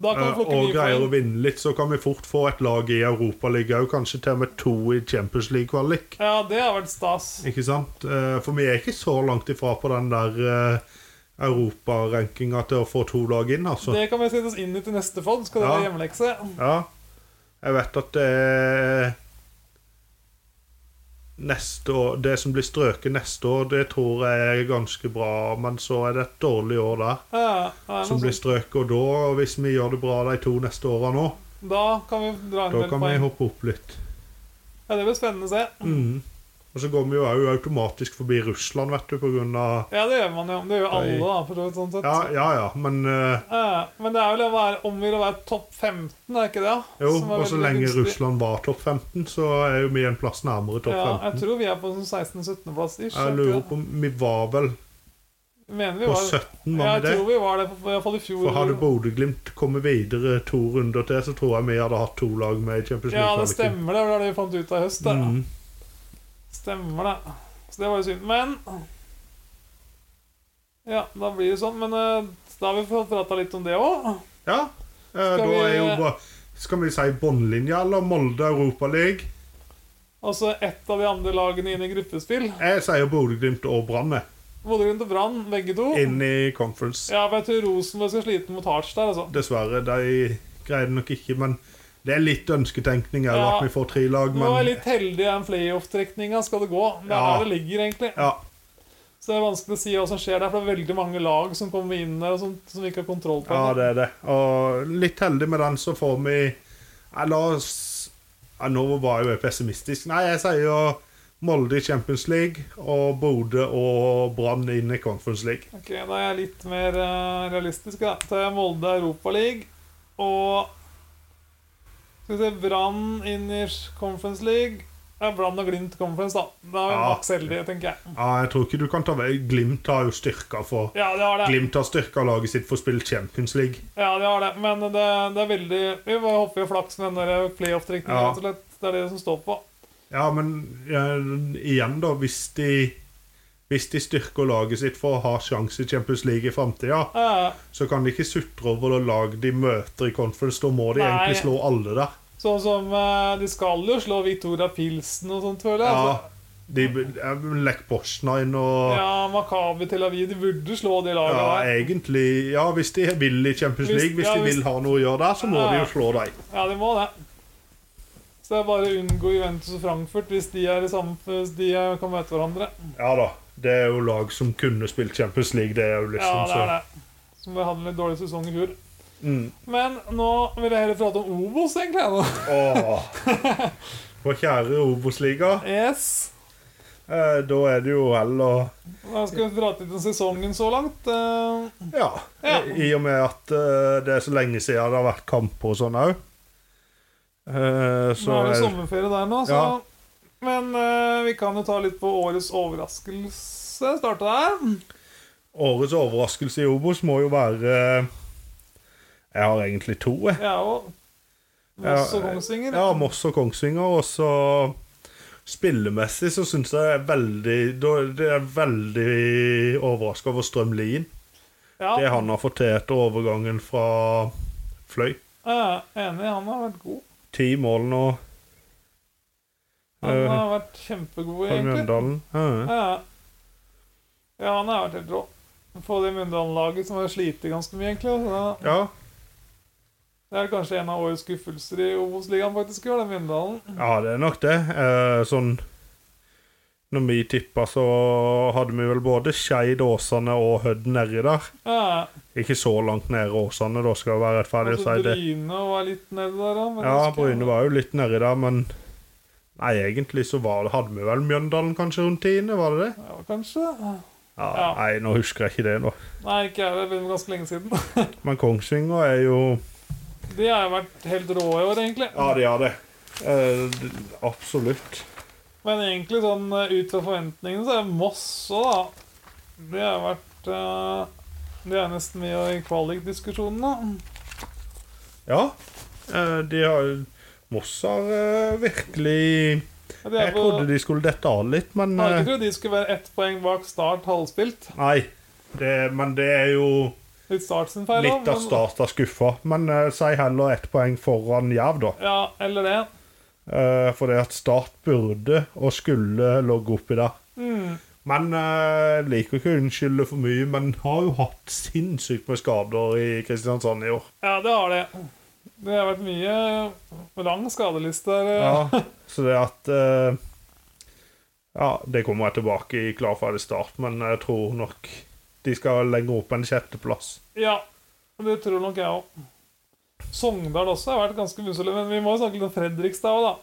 da kan eh, vi plukke og nye greier å poeng. vinne litt, så kan vi fort få et lag i Europaligaen òg, kanskje til og med to i Champions League-kvalik. Ja, det har vært stas. Ikke sant? Eh, For vi er ikke så langt ifra på den der eh, europarankinga til å få to lag inn, altså. Det kan vi sette oss inn i til neste fond. Skal det Ja. være hjemmelekse? Ja. Jeg vet at det er Neste år, Det som blir strøket neste år, det tror jeg er ganske bra, men så er det et dårlig år der Ja, ja, det er som noe blir strøket. Og da, hvis vi gjør det bra de to neste åra nå, sånt. Da kan vi dra en da del kan vi poeng. hoppe opp litt. Ja, det blir spennende å se. Mm. Og så går vi jo òg automatisk forbi Russland, vet du, på grunn av Ja, det gjør man jo. Det gjør jo alle, Oi. da, for så vidt. sånn sett. Ja, ja, ja, men eh, Eh, Men det er vel å være, om vi vil være topp 15, er ikke det? Jo, Som er og så veldig lenge gunstig. Russland var topp 15, så er jo vi en plass nærmere topp Ja, jeg 15. tror vi er på sånn 16-17-plass. Jeg lurer på om vi var vel Mener vi på var 17, Ja, var jeg vi det? tror vi var det, på- i hvert fall i fjor. For hadde Bodø-Glimt kommet videre to runder til, så tror jeg vi hadde hatt to lag med i Champions ja, League-kvaliken. det stemmer, det. Det var det vi fant ut av i høst. Det. Mm. Stemmer det. Så det var jo synd. Men Ja, da blir det sånn. Men eh, da har vi fått prata litt om det òg. Ja. eh, da vi- er jo bare Skal vi si båndlinja eller Molde Europaliga? Og så ett Altså, av de andre lagene inn i gruppespill. Jeg sier Bodø-Glimt og Brann jeg, Bodø-Glimt og Brann, begge to. inn i conference. Ja, for jeg tror Rosenborg skal slite mot Hearts der, altså. Dessverre, de greide nok ikke, men det er litt ønsketenkning òg, Ja. at vi får tre lag, Du var men litt heldig i den playoff-trekninga, skal det gå. Det er Ja. der det ligger, egentlig. ja. Så det er vanskelig å si hva som skjer der, for det er veldig mange lag som kommer inn der, og sånt, som vi ikke har kontroll på. Ja, ennå. det er det. Og litt heldig med den, så får vi ja, La oss ja, Nå var jeg jo pessimistisk. Nei, jeg sier jo Molde i Champions League og Bodø og Brann inn i Conference League. Ok, Da er jeg litt mer eh, realistisk, da. Til Molde Europaliga og Skal vi se Brann inn i Conference League. Ja, Brann og Glimt Conference, da. Da er vi Ja. maks heldige, tenker jeg. Ja, jeg tror ikke du kan ta vei. Glimt har jo styrka for Ja, det har det. Glimt har styrka laget sitt for å spille Champions League. Ja, det har det. Men det, det er veldig Vi bare hopper i flaks med den der playoff-trekninga, Ja. rett og slett. Det er det som står på. Ja, men ja, igjen, da. Hvis de, hvis de styrker laget sitt for å ha sjanse i Champions League i framtida, Eh, så kan de ikke sutre over det lag de møter i Conference. Da må de Nei. egentlig slå alle der. Sånn som eh, De skal jo slå Victoria Pilsen og sånt, føler jeg. Ja. Altså, De, Lech Poznan og ja, Ja, Makabi Tel Aviv, de burde slå de lagene der. egentlig Ja, hvis de vil i Champions Hvis- League, hvis ja, de hvis- vil ha noe å gjøre der, så må Ja, de ja. jo slå dem. Ja, de må det. Så det er bare å unngå Juventus og Frankfurt hvis de er i samme Hvis de er, kan møte hverandre. Ja da. Det er jo lag som kunne spilt Champions League, det er jo Ja, liksom det er det. Som vi hadde en litt dårlig sesong i fjor. så mm. Men nå vil jeg heller prate om Obos, egentlig. jeg, Nå. Åh. Vår kjære Obos-liga. Yes. Eh, da er det jo heller Da skal vi prate litt om sesongen så langt. Eh, Ja. Ja. I og med at eh, det er så lenge siden det har vært kamper og sånn òg. Nå Så er er- det sommerferie der nå, så Ja. Men eh, vi kan jo ta litt på årets overraskelse. Starte der. årets overraskelse i Obos må jo være eh, Jeg har egentlig to, jeg. Ja, og Moss og Kongsvinger. Ja, Moss og Kongsvinger. Og så spillemessig så syns jeg det er veldig da- Det er veldig overraska over Strøm Lien. Ja, Det han har fått til etter overgangen fra Fløy. jeg er enig. Han har vært god. Ti mål nå Han Eh, har vært kjempegod, fra egentlig. Mjøndalen. Ja. Ja, ja han har vært helt rå. På det Mjøndalen-laget som har slitt ganske mye, egentlig. Så ja. det er kanskje en av årets skuffelser i Obos-ligaen, faktisk. i år, den Mjøndalen. Ja, det er nok det. Eh, sånn Når vi tippa, så hadde vi vel både Skeid, Åsane og Hødd nedi der. Ja, Ikke så langt nede Åsane, da skal jeg være rettferdig og altså, si det. Bryne var litt nedi der, da. men Ja, jeg husker- Bryne var jo litt nedi der, men Nei, egentlig så var det, hadde vi vel Mjøndalen kanskje rundt tiende, var det det? Ja, kanskje. Ja, Ja. Nei, nå husker jeg ikke det, nå. Nei, ikke jeg. Det begynner ganske lenge siden. Men Kongsvinger er jo De har jo vært helt rå i år, egentlig. Ja, de har det. Eh, d- absolutt. Men egentlig sånn eh, ut fra forventningene så er Moss òg, da. Det har vært eh, Det er nesten mye i kvalik-diskusjonene. Ja. Eh, de har Moss har eh, virkelig Ja, de er Jeg på- trodde de skulle dette av litt, men Jeg hadde eh, ikke trodd de skulle være ett poeng bak Start halvspilt. Nei. Det, men det er jo Litt Start sin feil, da, litt av men- Start er skuffa. Men eh, si heller ett poeng foran Jerv, da. Ja, eller det. Eh, for det at Start burde og skulle logge oppi der. Mm. Men eh, jeg liker ikke å unnskylde for mye, men har jo hatt sinnssykt med skader i Kristiansand i år. Ja, det har det. Det har vært mye lang skadeliste der. eh. Ja, så det at eh, Ja, det kommer jeg tilbake i klar ferdig start, men jeg tror nok de skal lenger opp enn sjetteplass. Ja. Det tror nok jeg òg. Sogndal også har vært ganske muselig. Men vi må jo snakke litt om Fredrikstad òg, da.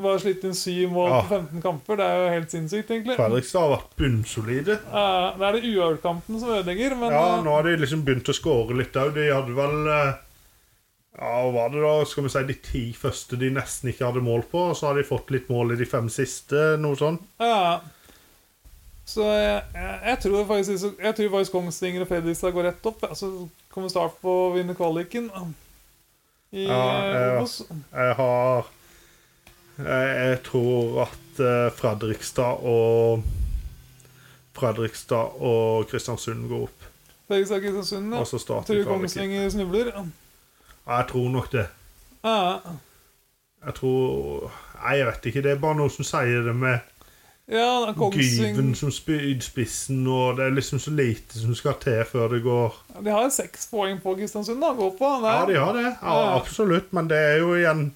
Bare slitt inn syv mål Ja. på 15 kamper. Det er jo helt sinnssykt, egentlig. Fredrikstad har vært bunnsolide. Eh, det er det uavgjort-kampen som ødelegger, men Ja, eh, nå har de liksom begynt å skåre litt òg. De hadde vel eh, Ja, hva var det da? Skal vi si de ti første de nesten ikke hadde mål på, og så har de fått litt mål i de fem siste, noe sånt. Ja. Så jeg, jeg, jeg tror faktisk Jeg tror faktisk Kongsvinger og Fredrikstad går rett opp. ja. Så kommer Start på å vinne kvaliken. I Ja, eh, ja. Obos. Jeg har Jeg, jeg tror at eh, Fredrikstad og Fredrikstad og Kristiansund går opp. Altså Fredrikstad og Kristiansund. Og Ja. så starter Tror kvaliken. Kongsvinger snubler. Ja. Ja, jeg tror nok det. Ja, Jeg tror Nei, jeg vet ikke. Det er bare noen som sier det med ja, Gyven Kongsvinger som spyd spissen, og det er liksom så lite som skal til før det går De har seks poeng på Kristiansund da, å gå på. Det Ja, er, de har det. Ja, Ja. absolutt. Men det er jo igjen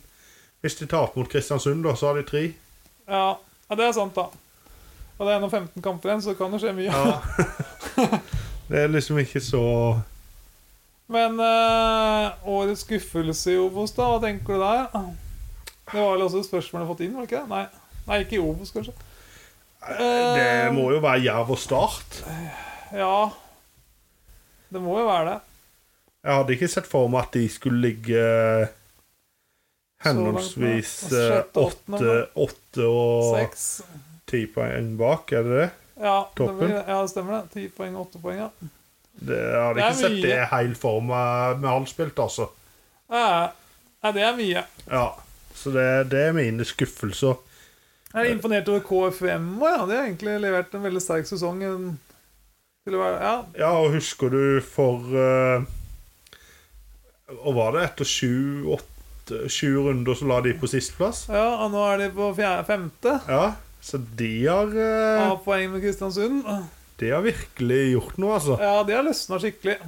Hvis de taper mot Kristiansund, da, så har de tre. ja. ja, det er sant, da. Og det er ennå 15 kamper igjen, så det kan jo skje mye. det er liksom ikke så Men eh, årets skuffelse i Obos, da? Hva tenker du der? Det var vel også et spørsmål jeg har fått inn? var det ikke det? Nei, Nei ikke i Obos, kanskje. Eh. Det må jo være Jerv og Start. Ja Det må jo være det. Jeg hadde ikke sett for meg at de skulle ligge eh, henholdsvis Så langt, eh, ja. Altså, Sjette, åtte, åtte og Seks. ti poeng bak, er det det? Ja, det Toppen. blir, ja, det stemmer det. Ti poeng, åtte poeng, ja. det jeg hadde Det er ikke sett mye. det helt for meg med halvspilt, altså. Eh, Nei, det er mye. Ja. Så det, det er mine skuffelser. Jeg er imponert over KFUM òg, ja. De har egentlig levert en veldig sterk sesong. en- Til å være, ja, Ja, og husker du for eh, Og var det etter sju, åtte, sju runder så la de på sisteplass? ja, og nå er de på fjerde, femte. Ja. Så de har, eh, Av poeng med Kristiansund. de har virkelig gjort noe, altså. Ja, de har løsna skikkelig.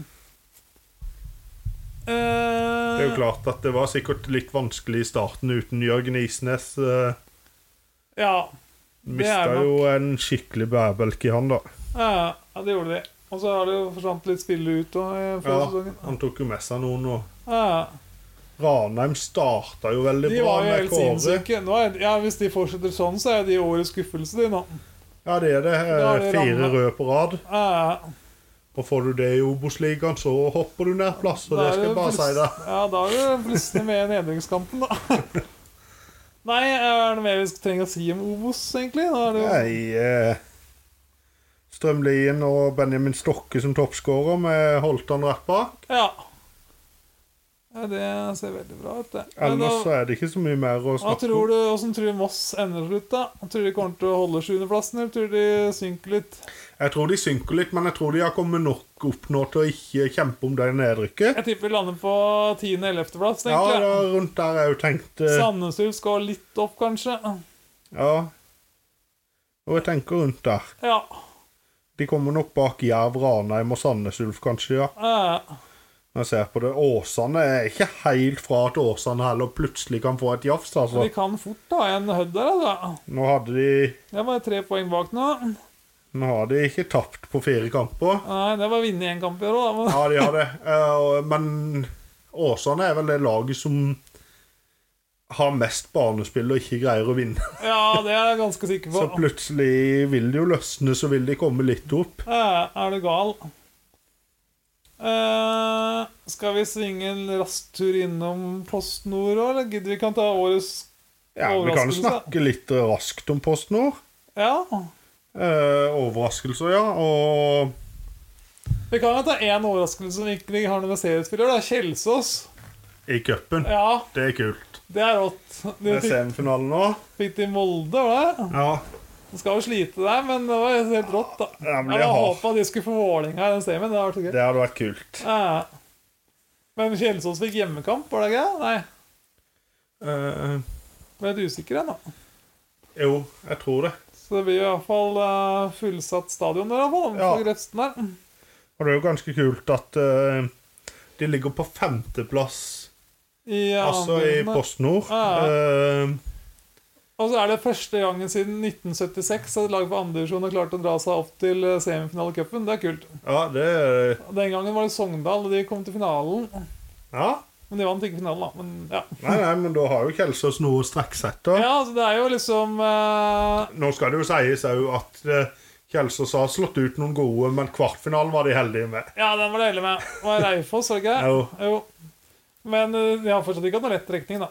Eh, Det er jo klart at det var sikkert litt vanskelig i starten uten Jørgen Isnes. Eh, Ja. Det er Mista nok. jo en skikkelig bærebjelke i han, da. Ja, ja, det gjorde de. Og så har det jo forsvant litt spillere ut og, eh, før sesongen. Han tok jo med seg noen, og Ja, ja. Ranheim starta jo veldig De bra var jo med helt Kåre. sinnssyke. Nå er, ja, hvis de fortsetter sånn, så er de årets skuffelse, de nå. Ja, det er det. eh, Da er det Fire Ranheim. røde på rad. Ja, ja. Og får du det i Obos-ligaen, så hopper du ned plass, og det Da er skal det jeg bare si plutselig- deg. Ja, da er det plutselig med nedrykkskampen, da. Nei, er det mer vi skal trenge å si om Obos, egentlig? Da er det jo Nei eh, Strømlien og Benjamin Stokke som toppskårer, med Holtan rett bak. Ja. ja. Det ser veldig bra ut, det. Men Ellers da, så er det ikke så mye mer å hva snakke tror om. du, Hvordan tror du Moss ender til slutt, da? Tror du de kommer til å holde sjuendeplassen, eller tror du de synker litt? Jeg tror de synker litt, men jeg tror de har kommet nok opp nå til å ikke kjempe om det nedrykket. Jeg tipper vi lander på tiende-ellevteplass, Ja, egentlig. det Ja, er rundt der jeg jo tenkte Sandnesulf skal litt opp, kanskje. Ja. Og jeg tenker rundt der. Ja. De kommer nok bak Jerv, Ranheim og Sandnes Ulf, kanskje. ja. eh, Når jeg ser på det. Åsane er ikke helt fra at Åsane heller plutselig kan få et jafs. Men altså. de kan fort ta en hødd der, altså. Nå, hadde de, Det var tre poeng bak nå. nå har de ikke tapt på fire kamper. Nei, det var å vinne én kamp i år òg, da. Ja, de har det. Eh, og- Men Åsane er vel det laget som har mest banespill og ikke greier å vinne. Men ja, det er jeg ganske sikker Så på. plutselig vil det jo løsne, så vil de komme litt opp. Eh, er du gal? Eh, skal vi svinge en rask tur innom Post Nord òg, eller gidder vi kan ta årets Ja, Vi kan jo Overraskelse. snakke litt raskt om Post Nord. Ja. Eh, overraskelser, ja. Og Vi kan jo ta én overraskelse som ikke har noe med seriespiller. Det er Kjelsås. i cupen. Ja, Det er kult. det er rått. De Det er fikk, semifinalen nå. fikk de Molde, var det? Ja. De skal jo slite der, men det var helt rått, da. Ja, men Jeg det hadde har- håpa de skulle få Vålerenga i den semien. Det hadde vært så Det gøy. hadde vært kult. Ja. Men Kjelsås fikk hjemmekamp, var det ikke? det? Nei. Eh, Ble litt usikker ennå. jo, jeg tror det. Så det blir i hvert fall eh, fullsatt stadion der, iallfall. Ja. Ja. Grefsen der. Og det er jo ganske kult at eh, de ligger på femteplass, I, eh, altså i andre- Post Nord. Ja. Eh, Og så er det første gangen siden 1976 at laget på andredivisjon har klart å dra seg opp til eh, semifinalecupen. Det er kult. ja, det er- Den gangen var det Sogndal, og de kom til finalen. Ja. Men de vant ikke finalen, da. Men ja. Nei, nei, men da har jo Kjelsås noe å strekke seg etter. ja altså, det er jo liksom eh, Nå skal det jo sies òg at eh, Kjelsås har slått ut noen gode, men kvartfinalen var de heldige med. Ja, den var det hele med. Det var Raufoss, var det ikke? Jo. jo. Men eh, de har fortsatt ikke hatt noen rett trekning, da.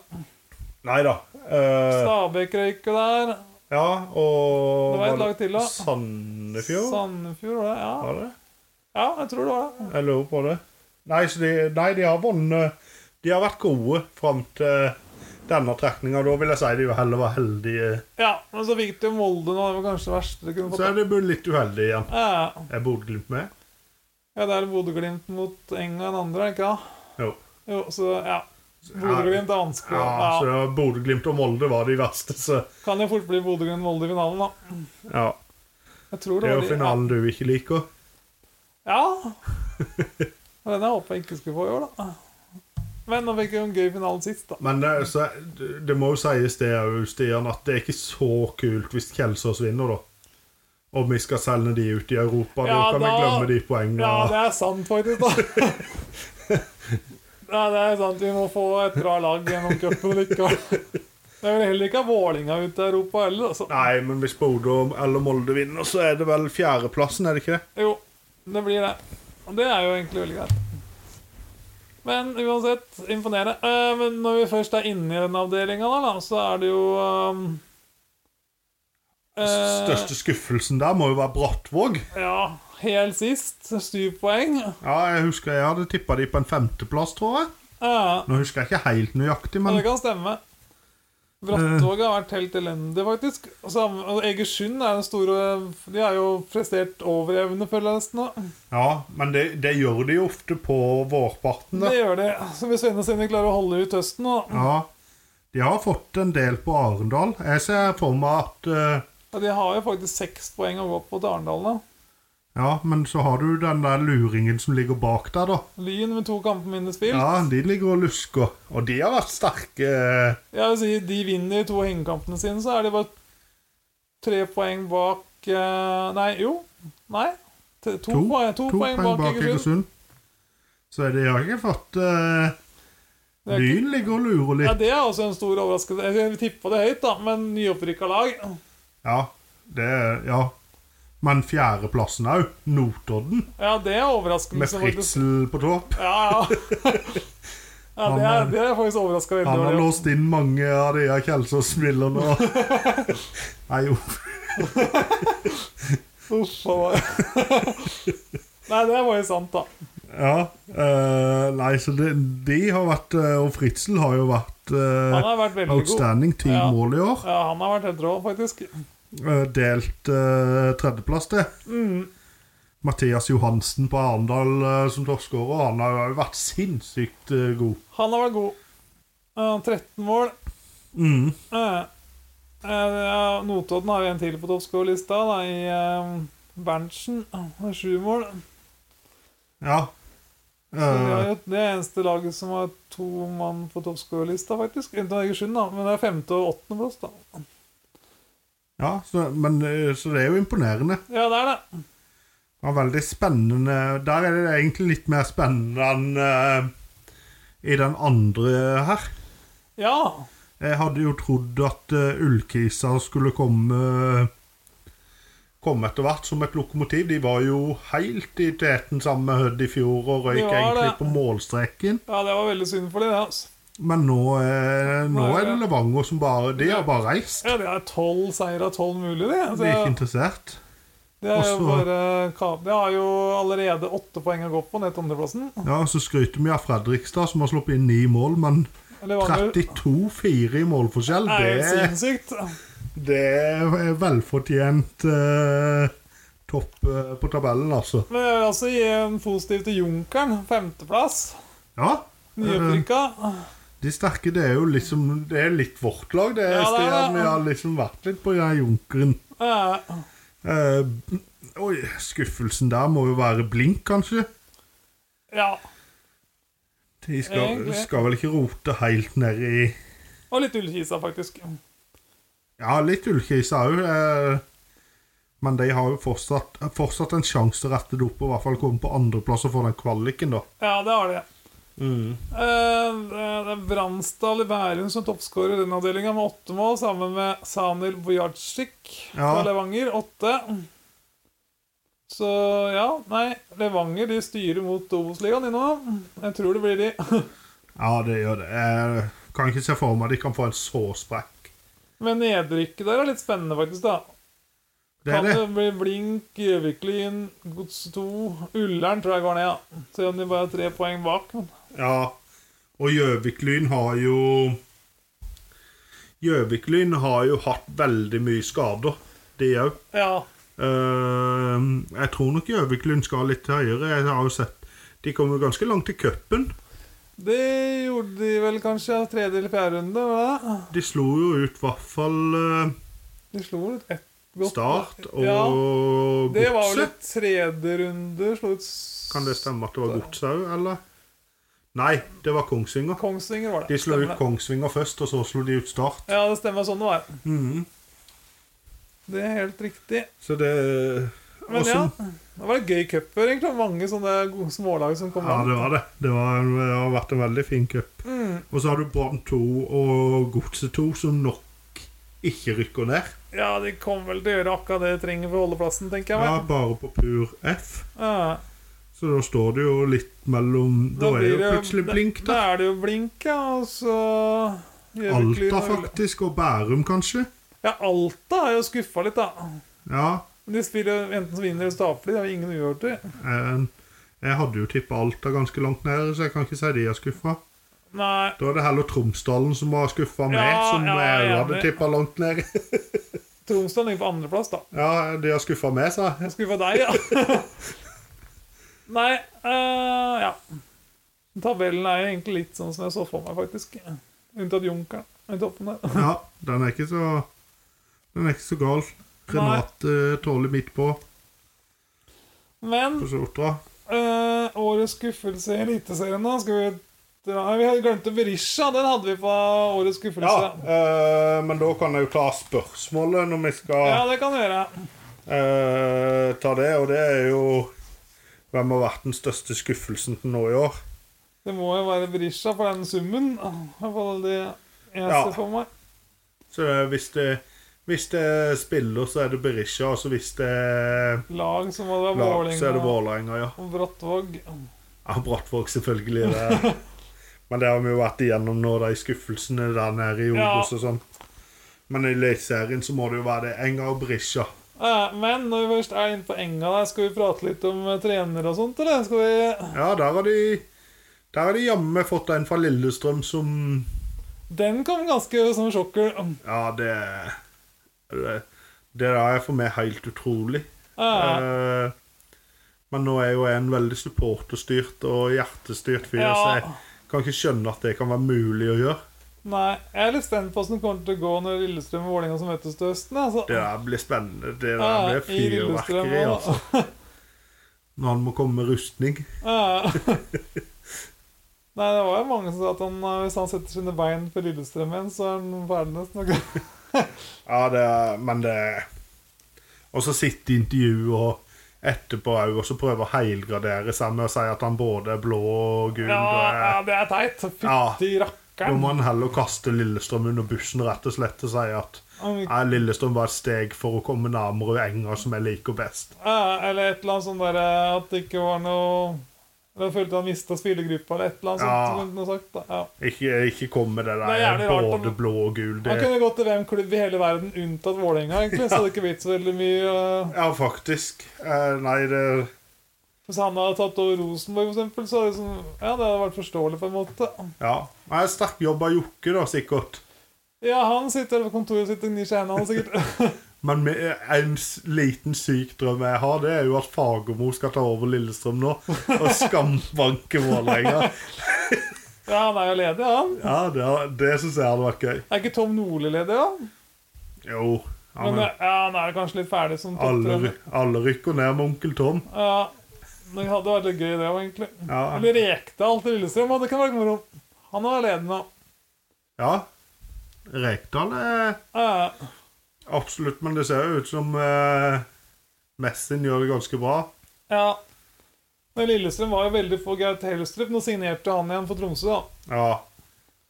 Nei da. Eh, Stabæk røyk jo der. ja, og Det var et lag til, da. Sandefjord? Sandefjord, var det? Ja. Var det? ja, jeg tror det var det. Jeg lurer på det. Nei, så de, nei, de har vunnet De har vært gode fram til denne trekninga. Da vil jeg si de heller var heldige. Ja, Men så fikk de jo Molde nå. Det var kanskje det verste de kunne Så er de fått. blitt litt uheldige igjen. Ja, Er Bodø-Glimt med? ja, det er Bodø-Glimt mot Enga den andre, er det ikke det? Jo. Jo, så ja. Bodø-Glimt er vanskelig. Ja, Ja, så Bodø-Glimt og Molde var de verste, så Kan jo fort bli Bodø-Glimt-Molde i finalen, da. ja. Jeg Det tror det er jo var de. finalen du ikke liker. Ja. Og Den jeg håpa jeg ikke skulle få i år, da. Men nå fikk vi en gøy finale sist, da. Men det, så, det må jo sies det òg, Stian, at det er ikke så kult hvis Kjelsås vinner, da. Om vi skal selge de ut i Europa. Ja, da kan vi da- glemme de poengene. Ja, det er sant, faktisk, da. Ja, det er sant. Vi må få et bra lag gjennom cupen likevel. Jeg vil heller ikke ha Vålinga ut i Europa heller. Altså. Nei, men hvis Bodø eller Molde vinner, så er det vel fjerdeplassen, er det ikke det? Jo, det blir det. Og det er jo egentlig veldig greit. Men uansett, imponerende. Eh, Men når vi først er inne i den avdelinga, da, da, så er det jo ehm, eh, Største skuffelsen der må jo være Brattvåg. Ja, helt sist. Syv poeng. Ja, jeg husker jeg hadde tippa de på en femteplass, tror jeg. Eh, Nå husker jeg ikke helt nøyaktig, Ja, men det kan stemme. Brattvåg har vært helt elendig, faktisk. Og samme- og Egersund er den store De har jo prestert over evne, føler jeg nesten. nå. Ja, men det, det gjør de jo ofte på vårparten. Det Da. gjør de. Så hvis vennene sine klarer å holde ut høsten nå Ja, de har fått en del på Arendal. Jeg ser for meg at eh, Og de har jo faktisk seks poeng å gå på til Arendal nå. Ja, men så har du den der luringen som ligger bak der, da. Lyn med to kamper mindre spilt. Ja, de ligger og lusker. Og de har vært sterke. eh, Jeg vil si De vinner de to hengekampene sine, så er de bare tre poeng bak eh, Nei, jo. Nei. T- To, poeng, to, poeng, bak Egersund. Så de har ikke fått eh, Det er Lyn ligger og lurer Ja, litt. det er også en stor overraskelse. Jeg tippa det høyt, da, men nyopprykka lag Ja, det Ja. Men fjerdeplassen òg. Notodden. Ja, det er overraskelse, Med faktisk. Fritzel på topp. Ja, ja. ja det, er, det er jeg faktisk overraska veldig Han har over. låst inn mange av de her Kjelsås-spillerne. Nei, jo. Uff, hva- Nei, det var jo sant, da. Ja. eh, nei, så det, de har vært eh, Og Fritzel har jo vært eh, Han har vært veldig god. Outstanding ti Ja. mål i år. Ja, han har vært helt rå, faktisk. Eh, Delt eh, tredjeplass til. Mm. Mathias Johansen på Arendal eh, som toppskårer. Han har jo vært sinnssykt eh, god. Han har vært god. Eh, 13 mål. Mm. Eh, eh, Notodden har jo en til på toppskårerlista, da, i eh, Berntsen. Han har Sju mål. Ja. Så de har Eh, jo det eneste laget som har to mann på toppskårerlista, faktisk. Unntatt Egersund, da. Men det er femte- og åttendeplass, da. ja så, men, eh, så det er jo imponerende. Ja, det er det. Det var veldig spennende. Der er det egentlig litt mer spennende enn eh, i den andre her. Ja. Jeg hadde jo trodd at eh, Ullkisa skulle komme Komme etter hvert som et lokomotiv. De var jo helt i teten sammen med Hødd i fjor og røyk De var egentlig det. på målstreken. ja, det var veldig synd for dem, det. Altså. Men nå, eh, nå Nei, er det ja. Levanger som bare De har bare reist. Ja, altså- det er tolv seire av tolv mulige, det. De Så er ikke interessert. det er jo Også- bare ka- Det har jo allerede åtte poeng å gå på, nett andreplassen. Ja, Så skryter vi av Fredrikstad, som har sluppet inn ni mål, men Levanger- 32-4 i målforskjell, Det er jo det, sinnssykt. det er velfortjent eh, topp eh, på tabellen, altså. Men jeg vil også gi en positiv til Junkeren. Femteplass. Ja. eh, Nyopprykka. De sterke, det er jo liksom Det er litt vårt lag. Det er Ja, det er stedet det. vi har liksom vært litt på den junkeren. Eh, Eh, oi, skuffelsen der må jo være blink, kanskje. ja. De skal, Egentlig. skal vel ikke rote helt ned i Og litt Ullkisa, faktisk. Ja, litt ullkrise òg. eh, men de har jo fortsatt, eh, fortsatt en sjanse til å rette det opp og i hvert fall komme på andreplass og få den kvaliken, da. Ja, det har de. Mm. Eh, det er Bransdal i Bærum som toppskårer i den avdelinga med åtte mål, sammen med Sanil Bojacic Ja. fra Levanger. Åtte. Så ja, nei, Levanger de styrer mot Obos-ligaen de nå. Jeg tror det blir de. Ja, det gjør det. Jeg kan ikke se for meg at de kan få en så sprekk. Men nedrykket der er litt spennende, faktisk. da Det Kan er det. det bli Blink, Gjøvik Lyn, Godset 2 Ullern tror jeg går ned, ja. Selv om de bare er tre poeng bak. Men Ja, og Gjøvik-Lyn har jo Gjøvik-Lyn har jo hatt veldig mye skader, de òg. ja, jeg tror nok Gjøvik-Lyn skal litt høyere. Jeg har jo sett De kom jo ganske langt i cupen. det gjorde de vel kanskje tredje eller fjerde runde, var det? De slo jo ut i hvert fall eh, De slo ut ett godt Start og Ja, det var vel Godset. et tredje runde. Slo ut s- Kan det stemme at det var Godset òg, eller? Nei, det var Kongsvinger. Kongsvinger, var det. De slo Stemmer ut det. Kongsvinger først, og så slo de ut Start. Ja, det stemmer. Sånn det var. Mhm. Det er helt riktig. Så det Men Og så- ja, det var en gøy cuper, egentlig. Mange sånne gode smålag som kom Ja, langt. det var det. Det, var, det har vært en veldig fin cup. Mm. Og så har du Brann 2 og Godset 2, som nok ikke rykker ned. Ja, de kommer vel til å gjøre akkurat det de trenger for å holde plassen, tenker jeg. Ja, meg. bare på pur F. Ja. Så da står det jo litt mellom Da, er blir jo plutselig blink, Da da. er det jo blink, ja, og så Gjøvik Lyn Alta, og- faktisk, og Bærum, kanskje. Ja, Alta er jo skuffa litt, da. Ja. De spiller jo enten så vinner eller så taper de. Det er jo ingen uavgjorter. eh, Jeg hadde jo tippa Alta ganske langt ned, så jeg kan ikke si de er skuffa. Nei, Da er det heller Tromsdalen som har skuffa meg, Ja, som ja, jeg jeg er hadde enig. tippa langt ned. Tromsdalen ligger på andreplass, da. Ja, de har skuffa meg, sa jeg. Jeg skulle få deg, ja. Nei, eh, ja. Tabellen er jo egentlig litt sånn som jeg så for meg, faktisk. Unntatt Junkeren i toppen der. Ja, den er ikke så Den er ikke så gal. Renate tåler midt på Men på skjorta. eh, årets skuffelse i Eliteserien, da skal vi dra- Vi hadde glemt Berisha. Den hadde vi på årets Ja, skuffelse. eh, men da kan jeg jo ta spørsmålet når vi skal Ja, det kan du gjøre. eh, ta det, og det er jo Hvem har vært den største skuffelsen til nå i år? Det må jo være Berisha for den summen. Ah, I hvert fall det jeg Ja. ser for meg. Så det er hvis det, hvis det er spiller, så er det Berisha, og så hvis det er Lag som må det være lag, så er det Vålerenga Vålerenga, ja. og Brattvåg. Ja, Brattvåg, selvfølgelig. Det. Men det har vi jo vært igjennom nå, de skuffelsene der nede i Obos og sånn. Men i Eliteserien så må det jo være det. Enga og Berisha. Eh, Men når vi først er inne på enga der, skal vi prate litt om eh, trenere og sånt, eller? Skal vi Ja, der har de Der har de jammen meg fått en fra Lillestrøm som Den kom ganske som sjokker. Ja, det Det, det der er for meg helt utrolig. Eh, Eh, men nå er jo jeg en veldig supporterstyrt og hjertestyrt fyr, så Ja. jeg kan ikke skjønne at det kan være mulig å gjøre. Nei, jeg er litt spent på hvordan det kommer til å gå når Lillestrøm og Vålerenga som møtes til høsten. Altså. Det der blir spennende. Det der Ja, blir i Lillestrøm fyrverkeri, og- altså. Når han må komme med rustning. Ja. Ah. Nei, det var jo mange som sa at han, eh, hvis han setter sine bein på Lillestrøm igjen, så er han ferdig nesten. Ja, det er, men det Og så sitte i intervju og etterpå òg, og så prøve å heilgradere seg med å si at han både er blå og gul. Ja, ja, og er- det er teit. Fytti Da rakkeren. eh, må han heller kaste Lillestrøm under bussen rett og slett og si at Han- ja, Lillestrøm var et steg for å komme nærmere enga som jeg liker best. Ja, eller et eller annet sånn der eh, at det ikke var noe Eller jeg følte han mista spillergruppa, eller et eller annet Ja. sånt. som noe sagt, da. Ja. Ikke, ikke kom med det der Det er jævlig rart om- både blå og gul. Han Det, kunne gått til hvem klubb i hele verden unntatt Vålerenga, egentlig. Så hadde det ikke blitt så veldig mye eh, ja, faktisk. Eh, nei, det Hvis han hadde tatt over Rosenborg, for eksempel, så hadde det, sånn, ja, det hadde vært forståelig på en måte. Ja. Det er sterk jobb av Jokke, da, sikkert. Ja, han sitter på kontoret sitt og gnir seg i hendene, han sikkert. Men med en s- liten syk drøm jeg har, det er jo at Fagermo skal ta over Lillestrøm nå og skambanke Vålerenga. Ja, han er jo ledig, han. Ja, det, har- det syns jeg hadde vært gøy. Er ikke Tom Nordli ledig, da? Jo. Ja, Men men, eh, ja, han er kanskje litt ferdig som alle, topptrener. ry- alle rykker ned med onkel Tom. Ja, men det hadde vært litt gøy, det òg, egentlig. Ja. Eller Rekdal til Lillestrøm, og det kan være moro. Han er alene nå. Ja. Rekdal er Ja, absolutt Men det ser jo ut som eh, Messin gjør det ganske bra. ja. Men Lillestrøm var jo veldig for Gaut Helstrup. Nå signerte han igjen for Tromsø, da. Ja.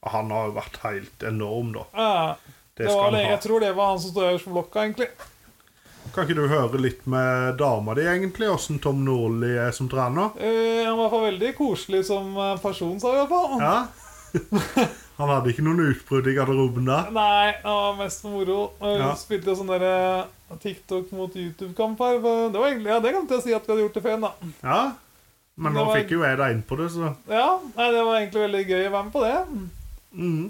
Han har jo vært helt enorm, da. Ja. Det Det var, skal lenge- han jeg ha. tror det var han som stod øverst på blokka, egentlig. Kan ikke du høre litt med dama di, egentlig? Åssen Tom Nordli er som trener? Eh, han var i hvert fall veldig koselig som eh, person, sa vi i hvert fall. Ja. Han hadde ikke noen utbrudd i garderoben der. Nei, han var mest for moro. Eh, Ja. Spilte jo sånn der eh, TikTok mot YouTube-kamp her. men Det var egentlig, ja, det kan jeg si at vi hadde gjort det før, da. Ja. Men Det nå var- fikk jo jeg deg inn på det, så Ja, nei, det var egentlig veldig gøy å være med på det. mm.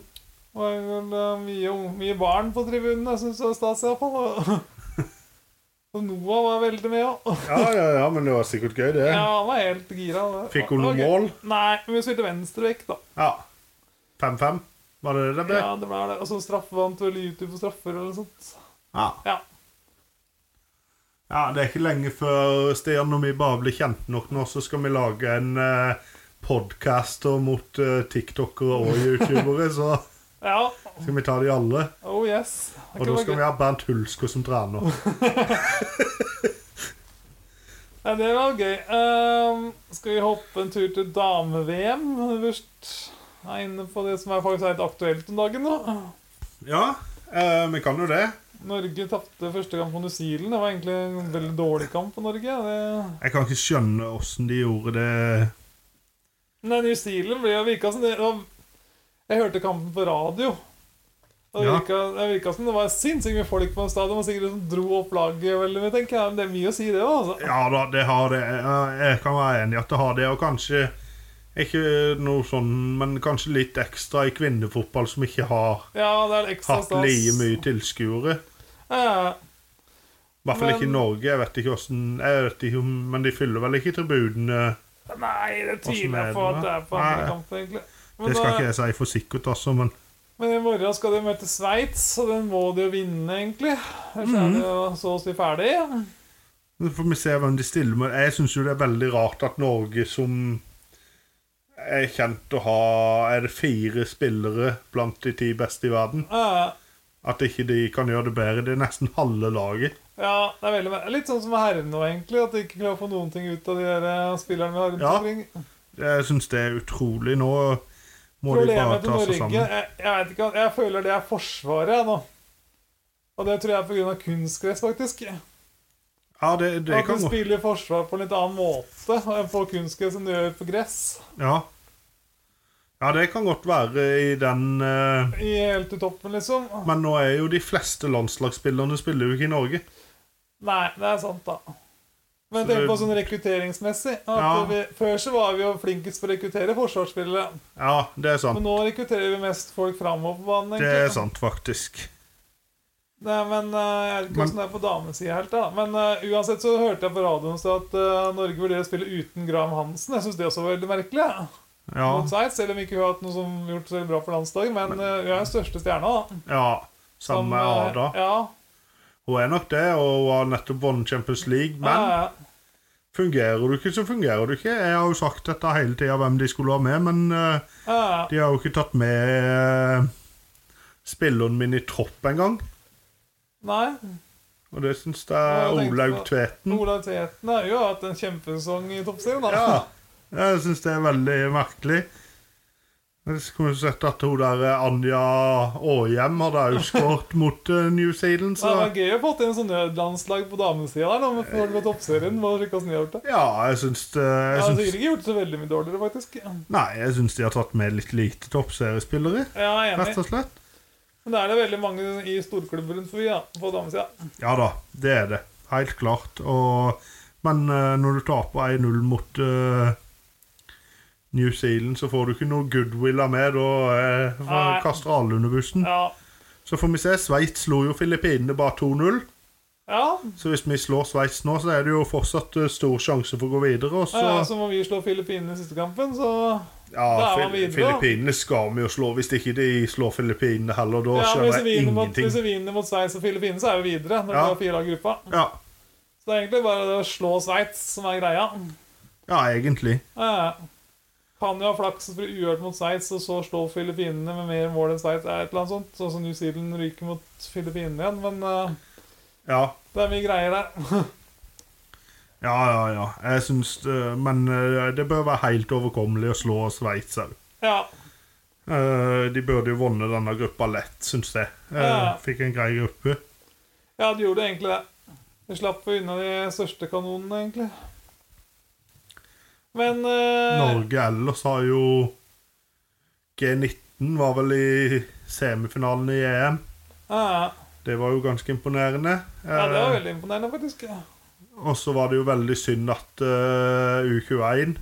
Det var vel eh, mye, ung- mye barn på tribunen, jeg synes det var stas i hvert fall. Og Noah var veldig med òg. Ja, ja, ja, men det var sikkert gøy, det. Ja, han var helt gira. det. Fikk hun noe Det var gøy. mål? Nei, men vi spilte venstrevekk, da. Ja. 5-5, var det det det ble? Ja, det ble det. Og så straffevant vel YouTube for straffer eller noe sånt. Ja. Ja. ja. Det er ikke lenge før, Stian, når vi bare blir kjent nok nå, så skal vi lage en eh, podcaster mot eh, tiktokere og youtubere, så ja. skal vi ta de alle. Oh yes. Det Og kan da være skal gøy. vi ha Bernt Hulsker som trener. Nei, det var gøy. Ehm, skal vi hoppe en tur til dame-VM først? Jeg er inne på det som er faktisk helt aktuelt om dagen nå. Ja, eh, vi kan jo det. Norge tapte første kamp på New Zealand. Det var egentlig en veldig dårlig kamp på Norge. Det Jeg kan ikke skjønne åssen de gjorde det Nei, New Zealand ble jo virka som det det var, Jeg hørte kampen på radio. Og det Ja. virka, det virka som det var sinnssykt mye folk på en stadion. Og sikkert liksom dro opp laget veldig mye, tenker jeg. Men det er mye å si, det òg, altså. Ja da, det har det. Jeg- Jeg kan være enig i at det har det, og kanskje ikke noe sånn, men kanskje litt ekstra i kvinnefotball som ikke har Ja, det er ekstra hatt like mye tilskuere. Ja, I hvert fall ikke i Men- Norge. Jeg vet ikke hvordan jeg vet ikke, om- Men de fyller vel ikke tribunene. nei, Hvordan det tviler er jeg på det, at det er på da? andre Nei. kamp, egentlig. Men Det skal da- ikke jeg si for sikkert, altså, men Men i morgen skal de møte Sveits, og den må de jo vinne, egentlig. Ellers Mhm. er det jo så å si ferdig. Så får vi se hvem de stiller med. Jeg syns jo det er veldig rart at Norge som er kjent å ha Er det fire spillere blant de ti beste i verden? Eh, At ikke de kan gjøre det bedre. Det er nesten halve laget. Ja, det er veldig mer- Litt sånn som med herrene nå, egentlig. At de ikke klarer å få noen ting ut av de der eh, spillerne vi har rundt Ja. omkring. Jeg syns det er utrolig. Nå må de bare Problemet til ta seg Norge sammen. jeg, jeg vet ikke, jeg føler det er Forsvaret jeg, nå. Og det tror jeg er pga. kunstgress, faktisk. Ja, det, det At kan du gå. spiller forsvar på en litt annen måte enn på kunstgress enn du gjør på gress. Ja. ja, det kan godt være i den eh, I helt i toppen, liksom. Men nå er jo de fleste landslagsspillerne spiller jo ikke i Norge. Nei, det er sant, da. Men Så tenk det- på sånn rekrutteringsmessig. At Ja. vi, før så var vi jo flinkest på å rekruttere forsvarsspillere. Ja, det er sant. Men nå rekrutterer vi mest folk framover på banen. Det egentlig. er sant, faktisk. Nei, men eh, jeg vet Men- ikke hvordan det er på damesida helt, da. Men eh, uansett så hørte jeg på radioen så at eh, Norge vurderer å spille uten Graham Hansen. Jeg syns det også var veldig merkelig. Ja. Ja. Mot Sveits, selv om ikke hun har hatt noe som gjort så veldig bra for landslaget. Men eh, hun er den største stjerna, da. ja. Som, Samme eh, Ada. Ja. Hun er nok det, og hun har nettopp vunnet Champions League, men ja, ja. fungerer du ikke, så fungerer du ikke. Jeg har jo sagt dette hele tida, hvem de skulle ha med, men eh, Ja, de har jo ikke tatt med eh, spilleren min i tropp engang. Nei. Og det syns jeg er Ja, jeg tenkte Olaug på- Tveten. Ola Teten har jo hatt en kjempesesong i toppserien, da. Ja, jeg syns det er veldig merkelig. Jeg kunne sett at hun der eh, Anja Aarhjem hadde også skåret mot eh, New Zealand, Det så var gøy å få til en sånn nødlandslag på damesida der, da, men for på toppserien må sjekke åssen de har gjort det. Ja, jeg syns det Jeg jeg har syns, sikkert ikke gjort det så veldig mye dårligere, faktisk. Nei, jeg syns de har tatt med litt lite toppseriespillere, Ja, jeg er enig. rett og slett. Men da er det veldig mange i storklubber rundt forbi, ja, på damesida. Ja da, det er det. Helt klart. Og, men eh, når du taper 1-0 mot eh, New Zealand, så får du ikke noe goodwill av meg. Da Nei. eh, kaster alle under bussen. Ja. Så får vi se. Sveits slo jo Filippinene bare 2-0. Ja, Så hvis vi slår Sveits nå, så er det jo fortsatt eh, stor sjanse for å gå videre. Og så, ja, så må vi slå Filippinene i siste kampen, så da ja, er man Fil- videre, da. Filippinene skal vi jo slå. Hvis ikke de slår Filippinene heller, da ja, men Hvis skjønner vi jeg vinner mot, ingenting. hvis vi vinner mot Sveits og Filippinene, så er vi videre. Når Ja. vi har fire lag i gruppa. Ja, Så det er egentlig bare det å slå Sveits som er greia. ja egentlig. Eh, kan jo ha flaks for uhørt mot Sveits, og så slå Filippinene med mer mål enn Sveits. er et eller annet sånt, Sånn som New Zealand ryker mot Filippinene igjen. Men eh, Ja, det er mye greier der. ja, ja. ja. Jeg syns det Men eh, det bør være helt overkommelig å slå Sveits òg. Ja. De burde jo vunnet denne gruppa lett, syns jeg. Eh, Ja. Fikk en grei gruppe. Ja, det gjorde egentlig det. Vi slapp unna de største kanonene, egentlig. Men eh, Norge ellers har jo G19 var vel i semifinalen i EM. ja, Det var jo ganske imponerende. ja, det var Eh, veldig imponerende, faktisk. Ja, Og så var det jo veldig synd at eh, U21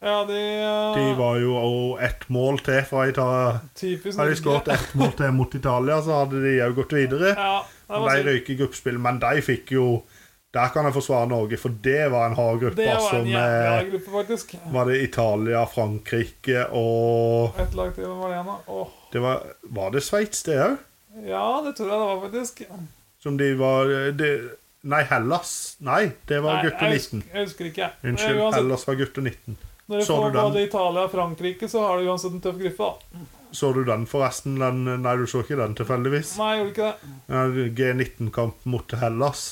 de, De eh, var jo og ett mål til fra Italia. typisk Hadde de skåret ett mål til mot Italia, så hadde de òg gått videre. Ja, det var De synd. røyk i gruppespill, men de fikk jo Der kan jeg forsvare Norge, for det var en hard gruppe. Det var som, en jævlig eh, hard gruppe, faktisk. var det Italia, Frankrike og Ett lag til, hvem var det igjen, da? Åh, det var, var det Sveits, det òg? ja, det tror jeg det var, faktisk. Som de var de, Nei, Hellas. Nei, det var Nei, gutter jeg, husker, 19. jeg husker ikke, jeg. Unnskyld, Men uansett, Hellas var gutter 19. når du så får du den? både Italia og Frankrike, så har du uansett en tøff gruppe, da. Så du den, forresten? Den, nei, du så ikke den tilfeldigvis? Nei, jeg gjorde ikke det. G19-kamp mot Hellas.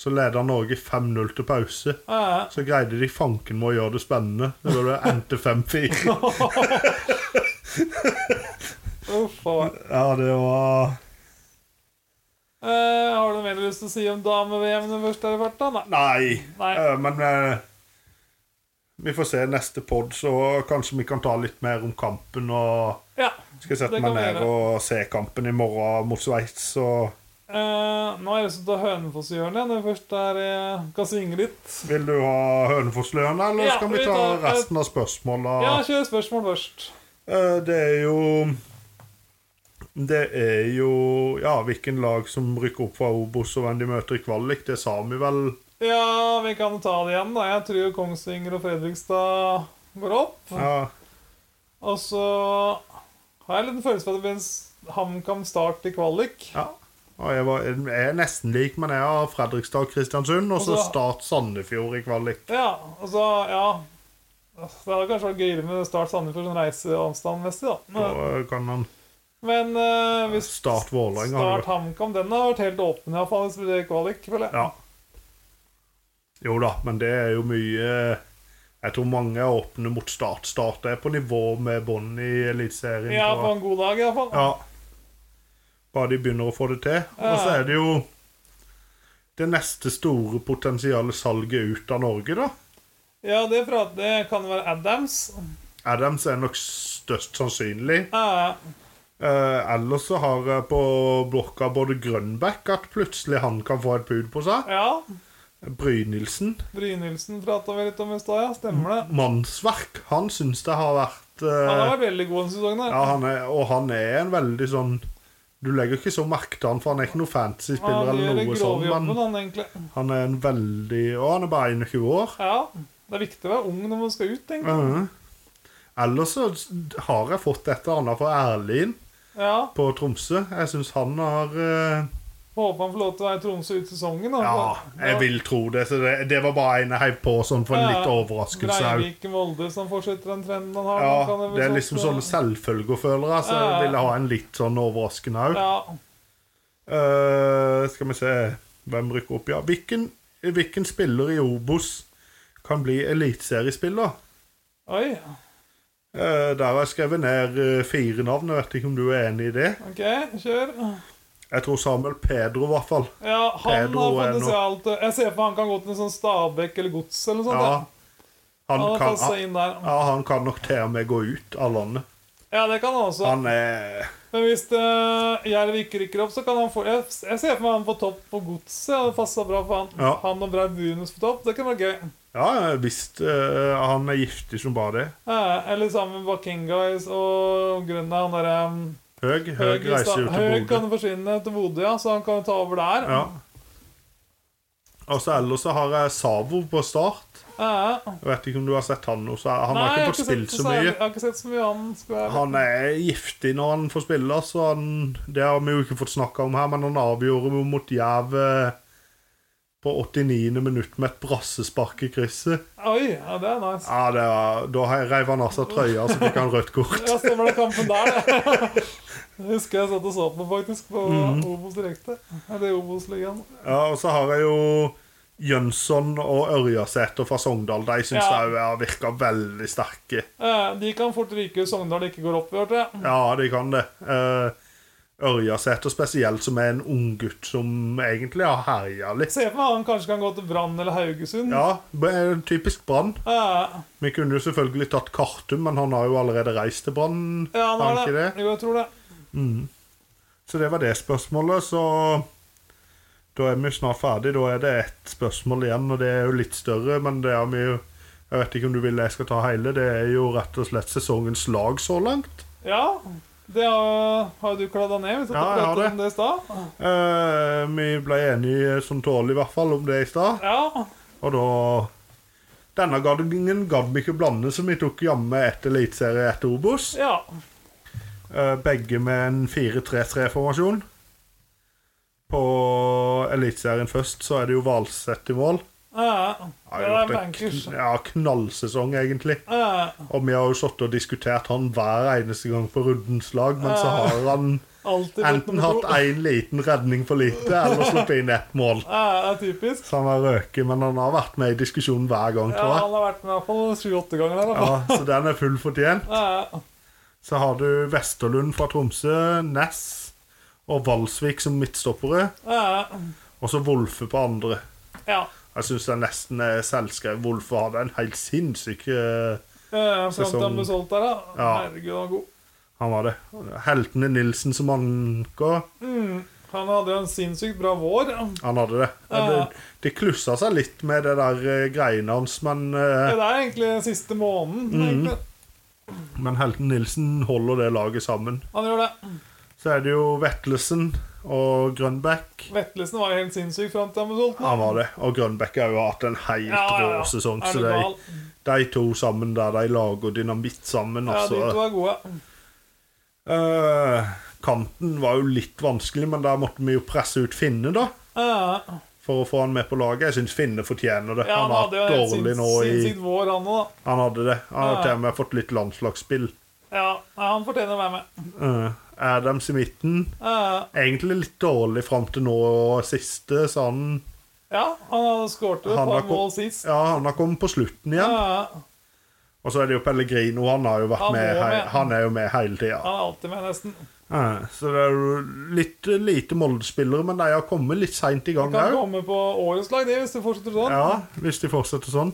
Så leda Norge 5-0 til pause. Ja, ja. Så greide de fanken med å gjøre det spennende. Det var det endte 5-4. Uff, faen. Ja, det var Eh, har du mer lyst til å si om dame-VM når først er i farta? Nei. Nei. Nei. Eh, men eh, vi får se neste pod, så kanskje vi kan ta litt mer om kampen. Og Ja. skal jeg Det sette meg kan vi ned gjøre. og se kampen i morgen mot Sveits. Og Eh, nå har jeg lyst til å ta Hønefoss-hjørnet når vi først er, eh, kan svinge litt. vil du ha Hønefoss-Løren, eller Ja, skal vi vi ta tar, eh, resten av spørsmåla? Ja, kjør spørsmål først. Eh, Det er jo Det er jo Ja, hvilken lag som rykker opp fra Obos og hvem de møter i kvalik, det sa vi vel. Ja, vi kan ta det igjen, da. Jeg tror Kongsvinger og Fredrikstad går opp. Ja, Og så Har jeg en liten følelse på at det blir en s- HamKam Start i kvalik. Ja. Og jeg, var, jeg er nesten lik, men jeg har Fredrikstad Kristiansund og så Og så- Start Sandefjord i kvalik. Ja, altså, ja Det hadde kanskje vært gøyere med Start Sandefjord sånn reiseavstandmessig, da. Så Men, eh, kan han men eh, hvis Start Vålerenga. har Start det vært. HamKam, den har vært helt åpen, iallfall. Hvis det blir kvalik, føler jeg. Ja. Jo da, men det er jo mye Jeg tror mange er åpne mot Start. Start er på nivå med Bonn i Eliteserien. Ja, tror jeg. på en god dag, iallfall. Ja. Bare de begynner å få det til. Og så Ja. er det jo det neste store potensielle salget ut av Norge, da. Ja, det, prat, det kan være Adams. Adams er nok størst sannsynlig. Ja, Eh, ellers så har jeg på blokka både Grønbæk at plutselig han kan få et bud på seg. ja. Brynildsen. Brynildsen prata vi litt om i stad, ja. Stemmer det. Mannsverk. Han syns det har vært eh, Han har vært veldig god denne sesongen. her. ja, han er, Og han er en veldig sånn Du legger ikke så merke til han, for han er ikke noe fancy spiller Han gjør eller noe sånt, grovjobben, men han, egentlig. han er en veldig Og han er bare 21 år. Ja. Det er viktig å være ung når man skal ut, egentlig. Mhm. Ellers så har jeg fått et eller annet fra Erlin Ja. på Tromsø. Jeg syns han har eh, Håper han får lov til å være i Tromsø ut sesongen. da. Ja, jeg vil tro det. Så det, det var bare en jeg heiv på sånn for en Ja, litt overraskelse òg. Breivik i Molde som fortsetter den trenden han har. da Ja, kan bli det er sånn, liksom eh, sånne selvfølgefølere, så jeg Ja. ville ha en litt sånn overraskende òg. Ja. skal vi se Hvem rykker opp, ja? Hvilken, hvilken spiller i Obos kan bli eliteseriespiller? Oi. Eh, der har jeg skrevet ned eh, fire navn. Jeg vet ikke om du er enig i det? OK, kjør. Jeg tror Samuel Pedro, i hvert fall. Ja, han Pedro har er nå- potensial til Jeg ser for han kan gå til en sånn Stabekk eller Gods eller noe sånt. Ja. Han, Han har kan, passet inn der. ja, han kan nok til og med gå ut av landet. Ja, det kan han også. Han er Men hvis uh, Jerv ikke rykker opp, så kan han få Jeg, jeg ser for meg han på topp på godset. og Det passer bra for han. Ja. Han og Braubunus på topp, det kan være gøy. Ja, visst. eh, han er giftig som bare det. Ja, eller sammen med Bakengais og Grønna. Han derre um, Høg, høg Høg, i reiser sta- jo til Høg Bodø. kan forsvinne til Bodø, ja, så han kan jo ta over der. Ja. Og så ellers så har jeg Savo på start. Ja. Jeg vet ikke om du har sett han nå. så Han Nei, har jeg ikke fått spilt sett så særlig- mye. Jeg har ikke sett så mye han skal være. Han er giftig når han får spille, så han, det har vi jo ikke fått snakka om her, men han avgjorde jo mot Jerv eh, på 89. minutt med et brassespark i krysset. Oi, ja, det er nice. Ja, det var, Da reiv han av seg trøya, så fikk han rødt kort. Ja, stemmer det kampen der, det. Jeg husker jeg satt og så på faktisk på Mhm. Obos direkte. Eller Obos-ligaen. Ja, og så har jeg jo Jønsson og Ørjasæter fra Sogndal. De syns Ja. jeg har virka veldig sterke. Eh, De kan fort ryke hvis Sogndal ikke går opp i år, tror jeg. Ja, de kan det. Eh, Ørjasæter spesielt, som er en unggutt som egentlig har herja litt. Se for meg han kanskje kan gå til Brann eller Haugesund. Ja, b- eh, typisk Brann. Eh, Vi kunne jo selvfølgelig tatt Kartum, men han har jo allerede reist til Brann. ja, han har har ikke det. det? Jo, jeg tror det. Så det var det spørsmålet, så da er vi jo snart ferdig. Da er det ett spørsmål igjen, og det er jo litt større, men det har vi jo Jeg vet ikke om du vil jeg skal ta hele. Det er jo rett og slett sesongens lag så langt. Ja, det har, har du kladda ned. Vi satt Ja, og jeg har pratet det. om det i stad. Eh, vi ble enige sånn tålelig i hvert fall om det i stad, Ja. og da Denne gangen gadd vi ikke blande, så vi tok jammen ett eliteserie, ett Obos. ja. Eh, Begge med en 4-3-3-formasjon. På Eliteserien først så er det jo Valseth i mål. Eh, Har det gjort er en bankers. kn- Ja, knallsesong, egentlig. Eh, Og vi har jo sittet og diskutert han hver eneste gang på rundens lag, men så Ja. har han alltid blitt enten nummer hatt to. én liten redning for lite, eller sluppet inn ett mål. Eh, det er typisk. Så han har røket, men han har vært med i diskusjonen hver gang, Ja, tror jeg. han har vært med i hvert fall sju-åtte ganger. Der, i hvert fall. Ja, så den er full fortjent. Eh, Så har du Vesterlund fra Tromsø, Ness og Valsvik som midtstoppere. eh, Og så Wolfe på andre. ja. Jeg syns den nesten er selvskrevet. Wolfe hadde en helt sinnssyk eh, Eh, Fram til Sesong- han ble solgt der, da. Ja. Herregud, han var god. Han var det. Heltene Nilsen som anker. Mm. Han hadde jo en sinnssykt bra vår. Han hadde det. Ja. Det, det klussa seg litt med det der eh, greiene hans, men, Ja, eh, Det er egentlig den siste måneden. Mhm. egentlig. men Helten Nilsen holder det laget sammen. Han gjør det. Så er det jo Vetlesen og Grønbæk. Vetlesen var jo helt sinnssyk fram til han ble solgt. Han var det. Og Grønbæk har jo hatt en helt rå sesong, Er så du de, gal? de to sammen der de lager dynamitt sammen, Ja, de altså. to er gode. Eh, kanten var jo litt vanskelig, men der måtte vi jo presse ut Finne, da. Ja, For å få han med på laget. Jeg syns Finne fortjener det. han han har hadde jo vært helt dårlig nå sinnssykt i sinnssykt vår, han òg, da. Han hadde det. Han har Ja. til og med fått litt landslagsspill. Ja, nei, han fortjener å være med. Eh, Adams i midten. Ja, Egentlig litt dårlig fram til nå siste, så han ja, han hadde skåret et Han har par kom- mål sist. Ja, han har kommet på slutten igjen. Ja, Og så er det jo Pellegrino. Han har jo vært Ah. Han med, må hei- med. Ah. Han er jo med hele tida. han er alltid med, nesten. Eh, Så det er jo litt eh, lite Molde-spillere, men de har kommet litt seint i gang Kan òg. komme på årets lag, det, hvis det fortsetter sånn. Ja, hvis de fortsetter sånn.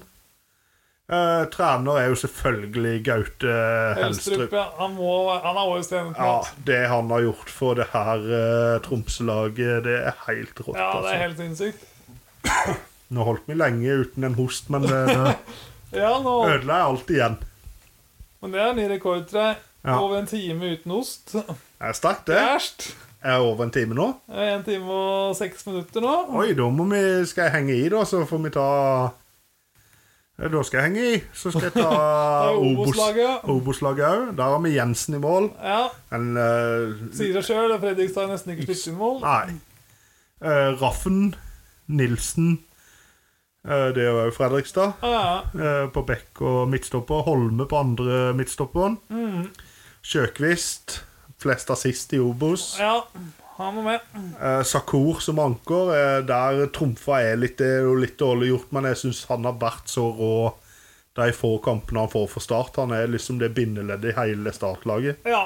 Eh, trener er jo selvfølgelig Gaute Helstrup, Helstrup. ja. Han, må, han er årets trener. på Ja, natt. Det han har gjort for det her eh, Tromsø-laget, det er helt rått. ja, det er altså. helt sinnssykt. Nå holdt vi lenge uten en host, men eh, Ja, nå, ødela jeg alt igjen. men det er ny rekord, tror jeg. Ja. Over en time uten ost. Det er sterkt, det. Æsj! Jeg er over en time nå. En time og seks minutter nå. Oi, da må vi, skal jeg henge i, da, så får vi ta Ja, Da skal jeg henge i. Så skal jeg ta er Obos-laget. Obos- Obos-laget òg. Der har vi Jensen i mål. Ja, En eh, sier seg sjøl. Fredrikstad er nesten ikke spilt inn mål. Nei. Eh, Raffen. Nilsen. eh, det er jo Fredrikstad. Ja, eh, på bekk og midtstopper. Holme på andre midtstopperen. Sjøkvist. Flest assist i Obos. ja, han må med. Eh, Sakur som anker. Eh, der trumfa er litt, det er jo litt dårlig gjort, men jeg syns han har vært så rå de få kampene han får for Start. Han er liksom det bindeleddet i hele Start-laget. Ja,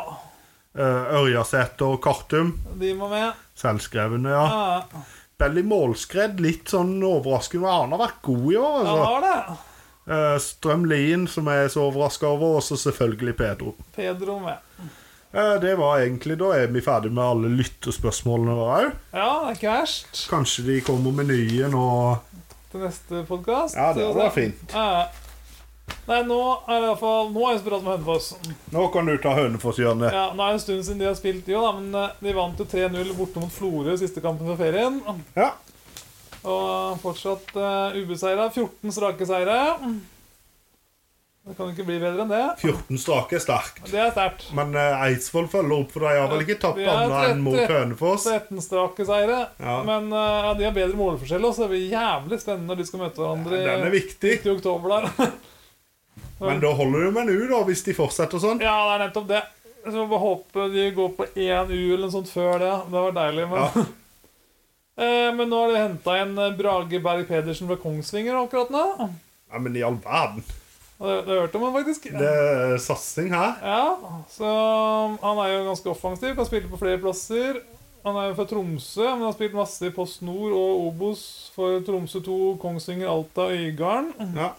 Eh, Ørjasæter og Kartum. de må med. Selvskrevne, ja. Ja, Belly Målskred, litt sånn overraskende. men Han har vært god i år. han Altså. har det. Eh, Strøm Lien, som jeg er så overraska over, og så selvfølgelig Pedro. Pedro med. Eh, Det var egentlig Da er vi ferdig med alle lyttespørsmålene våre òg. Ja, det er ikke verst. Kanskje de kommer med nye nå. Til neste podkast. Ja, det var fint. Ja. Nei, nå er det iallfall Nå er jeg så bra med Hønefoss. Nå kan du ta Hønefoss-hjørnet. Ja, nå er det en stund siden de har spilt, de òg, da, men eh, de vant jo 3-0 borte mot Florø siste kampen før ferien. Ja. Og fortsatt uh, ubeseira. 14 strake seire. Det kan jo ikke bli bedre enn det. 14 strake er sterkt. Det er sterkt. Men eh, Eidsvoll følger opp, for de har vel ikke tapt Vi er annet enn mot trette. Hønefoss. 13 Altså, strake seire. Ja. Men eh, ja, de har bedre målforskjell, også, så det blir jævlig spennende når de skal møte hverandre Den er i, viktig. i oktober der. Men da holder det med en U, da, hvis de fortsetter sånn. ja, det er nettopp det. Så vi får håpe de går på én U eller noe sånt før det. Det var deilig. Men, Ja. Eh, men nå har de henta inn eh, Brage Berg Pedersen fra Kongsvinger akkurat nå. Ja, men i all verden. Og Det, det hørte man faktisk. Det er satsing her. Ja, så um, han er jo ganske offensiv, kan spille på flere plasser. Han er jo fra Tromsø, men har spilt masse i Post Nord og Obos for Tromsø 2, Kongsvinger, Alta og Øygarden. Ja.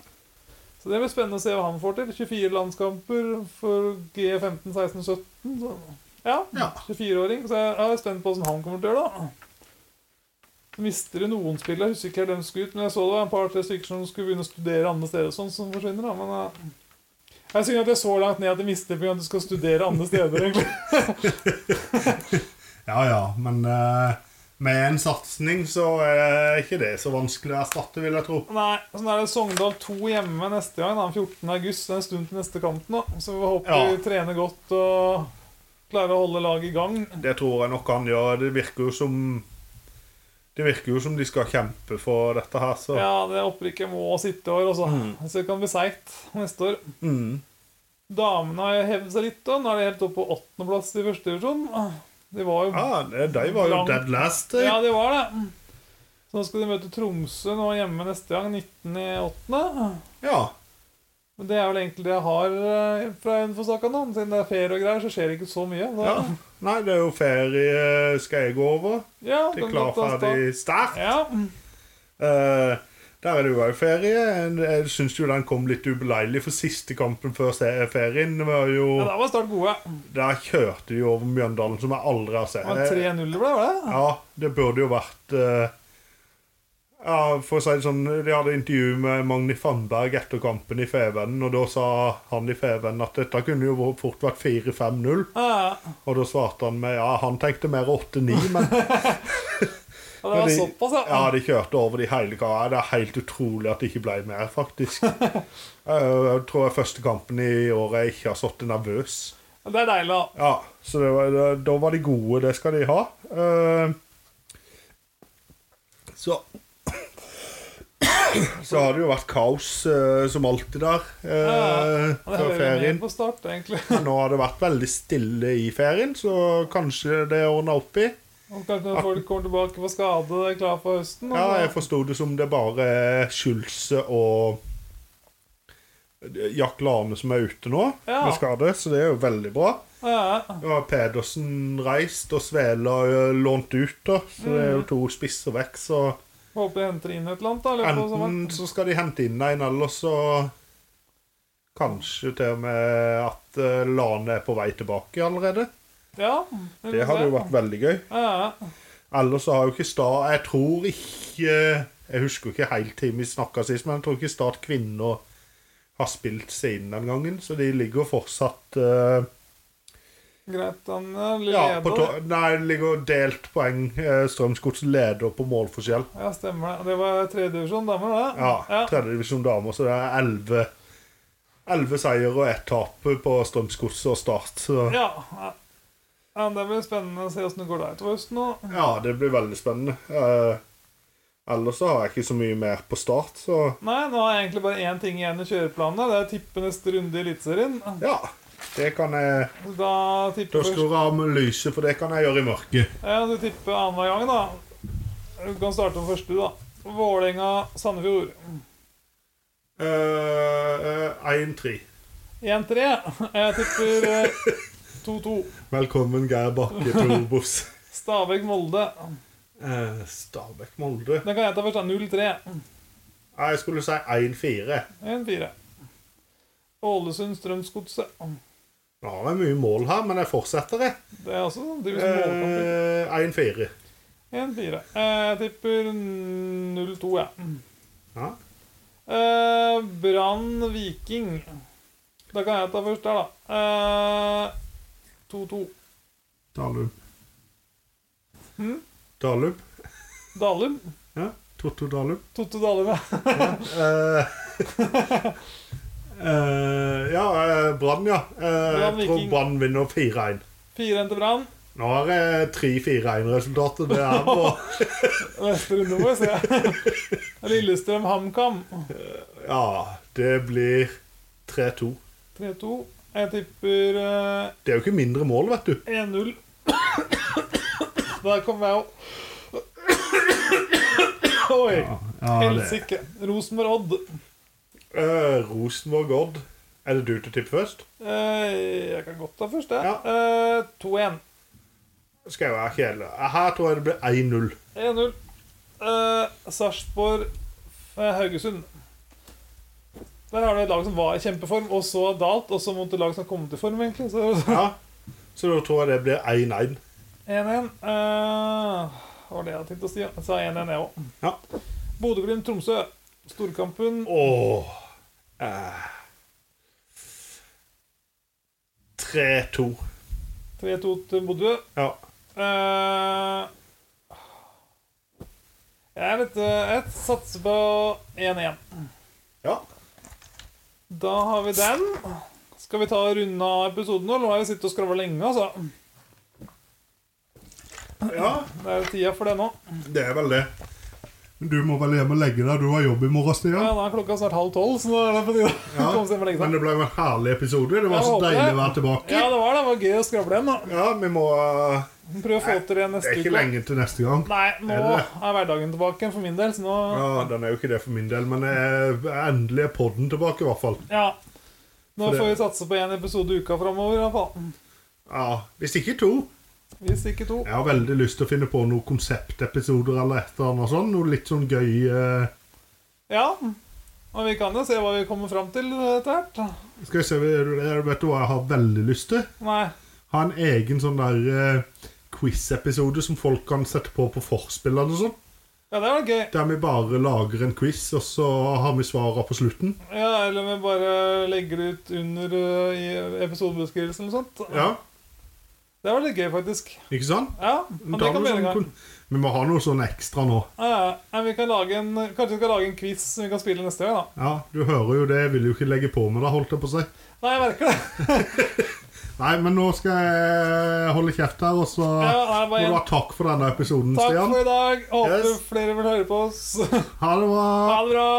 Så det blir spennende å se hva han får til. 24 landskamper for G15, 16, 17. Så. Ja, Ja. 24-åring. Så jeg er spent på hvordan han kommer til å gjøre det. da. Så mister de noen spillere. Jeg husker ikke helt hvem som skulle ut, men jeg så det var en par-tre stykker som skulle begynne å studere andre steder og sånn, som forsvinner. da, men... eh, jeg synes at det er så langt ned at jeg mister på grunn av at du skal studere andre steder. egentlig. ja ja, men eh, med en satsing så er ikke det så vanskelig å erstatte, vil jeg tro. Nei, sånn er det Sogndal 2 hjemme neste gang, da, 14. august. Det er en stund til neste kamp nå. Så vi håper Ja. vi trener godt og klarer å holde laget i gang. Det tror jeg nok han gjør. Det virker jo som Det virker jo som de skal kjempe for dette her, så Ja, det opprykket må sitte i år, altså. Så det kan bli seigt neste år. Mm. Damene har hevet seg litt, og nå er de helt oppe på åttendeplass i første divisjon. De var jo Ja, det- de var jo Langt- dead last. eh. Ja, de var det. Så nå skal de møte Tromsø nå hjemme neste gang, 19.8. Ja. Men det er vel egentlig det jeg har eh, fra Hønefoss-saka nå. Siden det er ferie og greier, så skjer det ikke så mye. Så, ja. Nei, det er jo ferie skal jeg gå over. ja, Til kan klar, godt ta start. ferdig, sterk. Ja. Eh, der er det jo òg ferie. Jeg syns jo den kom litt ubeleilig, for siste kampen før se- ferien var ja, jo da var Start gode. Der kjørte de over Mjøndalen, som jeg aldri har Det var sett. Eh, 3-0 det ble, var det? Ja, det burde jo vært eh, Ja, for å si det sånn De hadde intervju med Magni Fannberg etter kampen i Fevennen, og da sa han i Fevennen at dette kunne jo fort vært 4-5-0. Ja, Og da svarte han med ja, han tenkte mer 8-9, men ja, det var de- såpass, ja. ja, de kjørte over de hele kara. Det er helt utrolig at det ikke ble mer, faktisk. Eh, Jeg tror det er første kampen i året jeg ikke har sittet nervøs. Men Det er deilig, da. Ja, så det var, da- da var de gode. Det skal de ha. Eh, så Så har det jo vært kaos eh, som alltid der eh, Det før hører med ferien. på start, egentlig. Men nå har det vært veldig stille i ferien, så kanskje det er ordna opp i. Og kanskje når folk kommer tilbake på skade, er klar for høsten. og Ja, så- jeg forsto det som det bare er Schulze og eh, Jack Lane som er ute nå Ja. med skade, så det er jo veldig bra. ja. Nå har Pedersen reist og Svela ø, lånt ut, da. Så det Mm. er jo to spisser vekk, så Håper de henter inn et eller annet. da, i løpet av enten sommeren. så skal de hente inn en, eller så Kanskje til og med at ø, Lane er på vei tilbake allerede. Mm, Ja, vi Det får hadde se. jo vært veldig gøy. Ja, ja. Ellers så har jo ikke Start Jeg tror ikke Jeg husker ikke helt til vi snakka sist, men jeg tror ikke Start kvinner har spilt siden den gangen, så de ligger fortsatt ø, Greit, han er Ja, på leder. to nei, det ligger delt poeng. Eh, Strømsgods leder på målforskjell. Ja, stemmer det. Det var tredjedivisjon damer, det. Ja, Tredjedivisjon damer, så det er elleve. Elleve seier og ett tap på Strømsgods og Start. Så ja. ja. Ja, Det blir spennende å se åssen det går der til høsten. nå. ja, det blir veldig spennende. Eh, ellers så har jeg ikke så mye mer på Start, så Nei, nå har jeg egentlig bare én ting igjen i kjøreplanene. Det er å tippe neste runde i Eliteserien. ja. Det kan jeg Da tipper Da skal jeg av med lyset, for det kan jeg gjøre i mørket. Ja, du tipper annenhver gang, da. Du kan starte med første, da. Vålerenga-Sandefjord. Eh, eh, 1-3. 1-3. Jeg tipper eh, 2-2. Velkommen, Geir Bakke Torbos. Stabæk-Molde. uh, Stabæk-Molde. Den kan jeg ta først. da. 0-3. Nei, Jeg skulle si 1-4. 1-4. Ålesund-Strømsgodset. Nå har jeg mye mål her, men jeg fortsetter, jeg. Det er også sånn typisk målkamper. Eh, 1-4. 1-4. Jeg tipper 0-2, jeg. Ja. Ja. Eh, Brann Viking. Da kan jeg ta først der, da. Eh, 2-2. Dalum. Hm? Dalum. Dalum. Ja. Totto Dalum. Totte Dalum, ja. Eh, eh, ja, eh, Brann, ja. Eh, Brann, jeg tror Viking. Brann vinner 4-1. 4-1 til Brann. Nå har jeg 3-4-1-resultatet. Det er på Neste runde må vi se. Lillestrøm HamKam. Ja, det blir 3-2. 3-2. Jeg tipper eh, Det er jo ikke mindre mål, vet du. 1-0. Der kom jeg jo. Oi. Helsike. Rosenborg-Odd. Eh, Rosenborg-Odd. Er det du til å tippe først? Eh, jeg kan godt ta først, jeg. Ja. Eh, 2-1. Skal jeg være kjedelig. Eh, Her tror jeg det blir 1-0. 1-0. Eh, Sarpsborg eh, Haugesund. Der har du et lag som var i kjempeform, og så dalt, og så mot et lag som har kommet i form, egentlig. Så Ja. Så da tror jeg det blir 1-1. 1-1. Eh, hva var det jeg hadde tenkt å si? ja. Jeg sa 1-1, jeg òg. Ja. Bodø-Glimt-Tromsø. Storkampen Åh. Eh. 3-2. 3-2 til Bodø. Ja. Eh, jeg er litt eh, Jeg satser på 1-1. ja. Da har vi den. Skal vi ta og runde av episoden nå? Nå har vi sittet og skravla lenge, altså. Ja, Det er jo tida for det nå. det er vel det. Men du må vel hjem og legge deg. Du har jobb i morgen, Ja, Stian. Nå er klokka snart halv tolv, så nå er det på tide å komme seg på legge Men seg. det ble jo en herlig episode. Det var Jeg så håper deilig det. å være tilbake. Ja, det var det. Det var gøy å skravle igjen, da. Ja, vi må eh, Prøv å få til det Det neste er ikke uke. lenge til neste gang. Nei, nå Er det er hverdagen tilbake for min del, så nå Ja, Den er jo ikke det for min del, men eh, endelig er podden tilbake, i hvert fall. Ja. Nå For det- får vi satse på én episode i uka framover, i hvert fall. Ja, Hvis ikke to. Hvis ikke to. Jeg har veldig lyst til å finne på noen konseptepisoder eller et eller annet sånn. Noe litt sånn gøy eh, Ja. Og vi kan jo se hva vi kommer fram til etter hvert. Skal vi se eh, Vet du hva jeg har veldig lyst til? Nei. Ha en egen sånn der eh, quiz-episode som folk kan sette på på forspillene og sånn. Ja, det var gøy. Der vi bare lager en quiz, og så har vi svarene på slutten. Ja, Eller om vi bare legger det ut under uh, i episodebeskrivelsen eller sånt. Ja, Det var litt gøy, faktisk. ikke sant? Ja, men det Da kan må vi gjøre en sånn gang. kon- vi må ha noe sånn ekstra nå. Ja, ja. Nei, vi kan lage en, kanskje vi skal lage en quiz som vi kan spille neste gang, da. Ja, du hører jo det. Jeg vil jo ikke legge på med det, holdt jeg på å si. Nei, jeg merker det. Nei, men nå skal jeg holde kjeft her, og så Ja, må nei, du bare ha en takk for denne episoden, Takk Stian. for i dag. Håper Yes. flere vil høre på oss. Ha det bra. Ha det bra.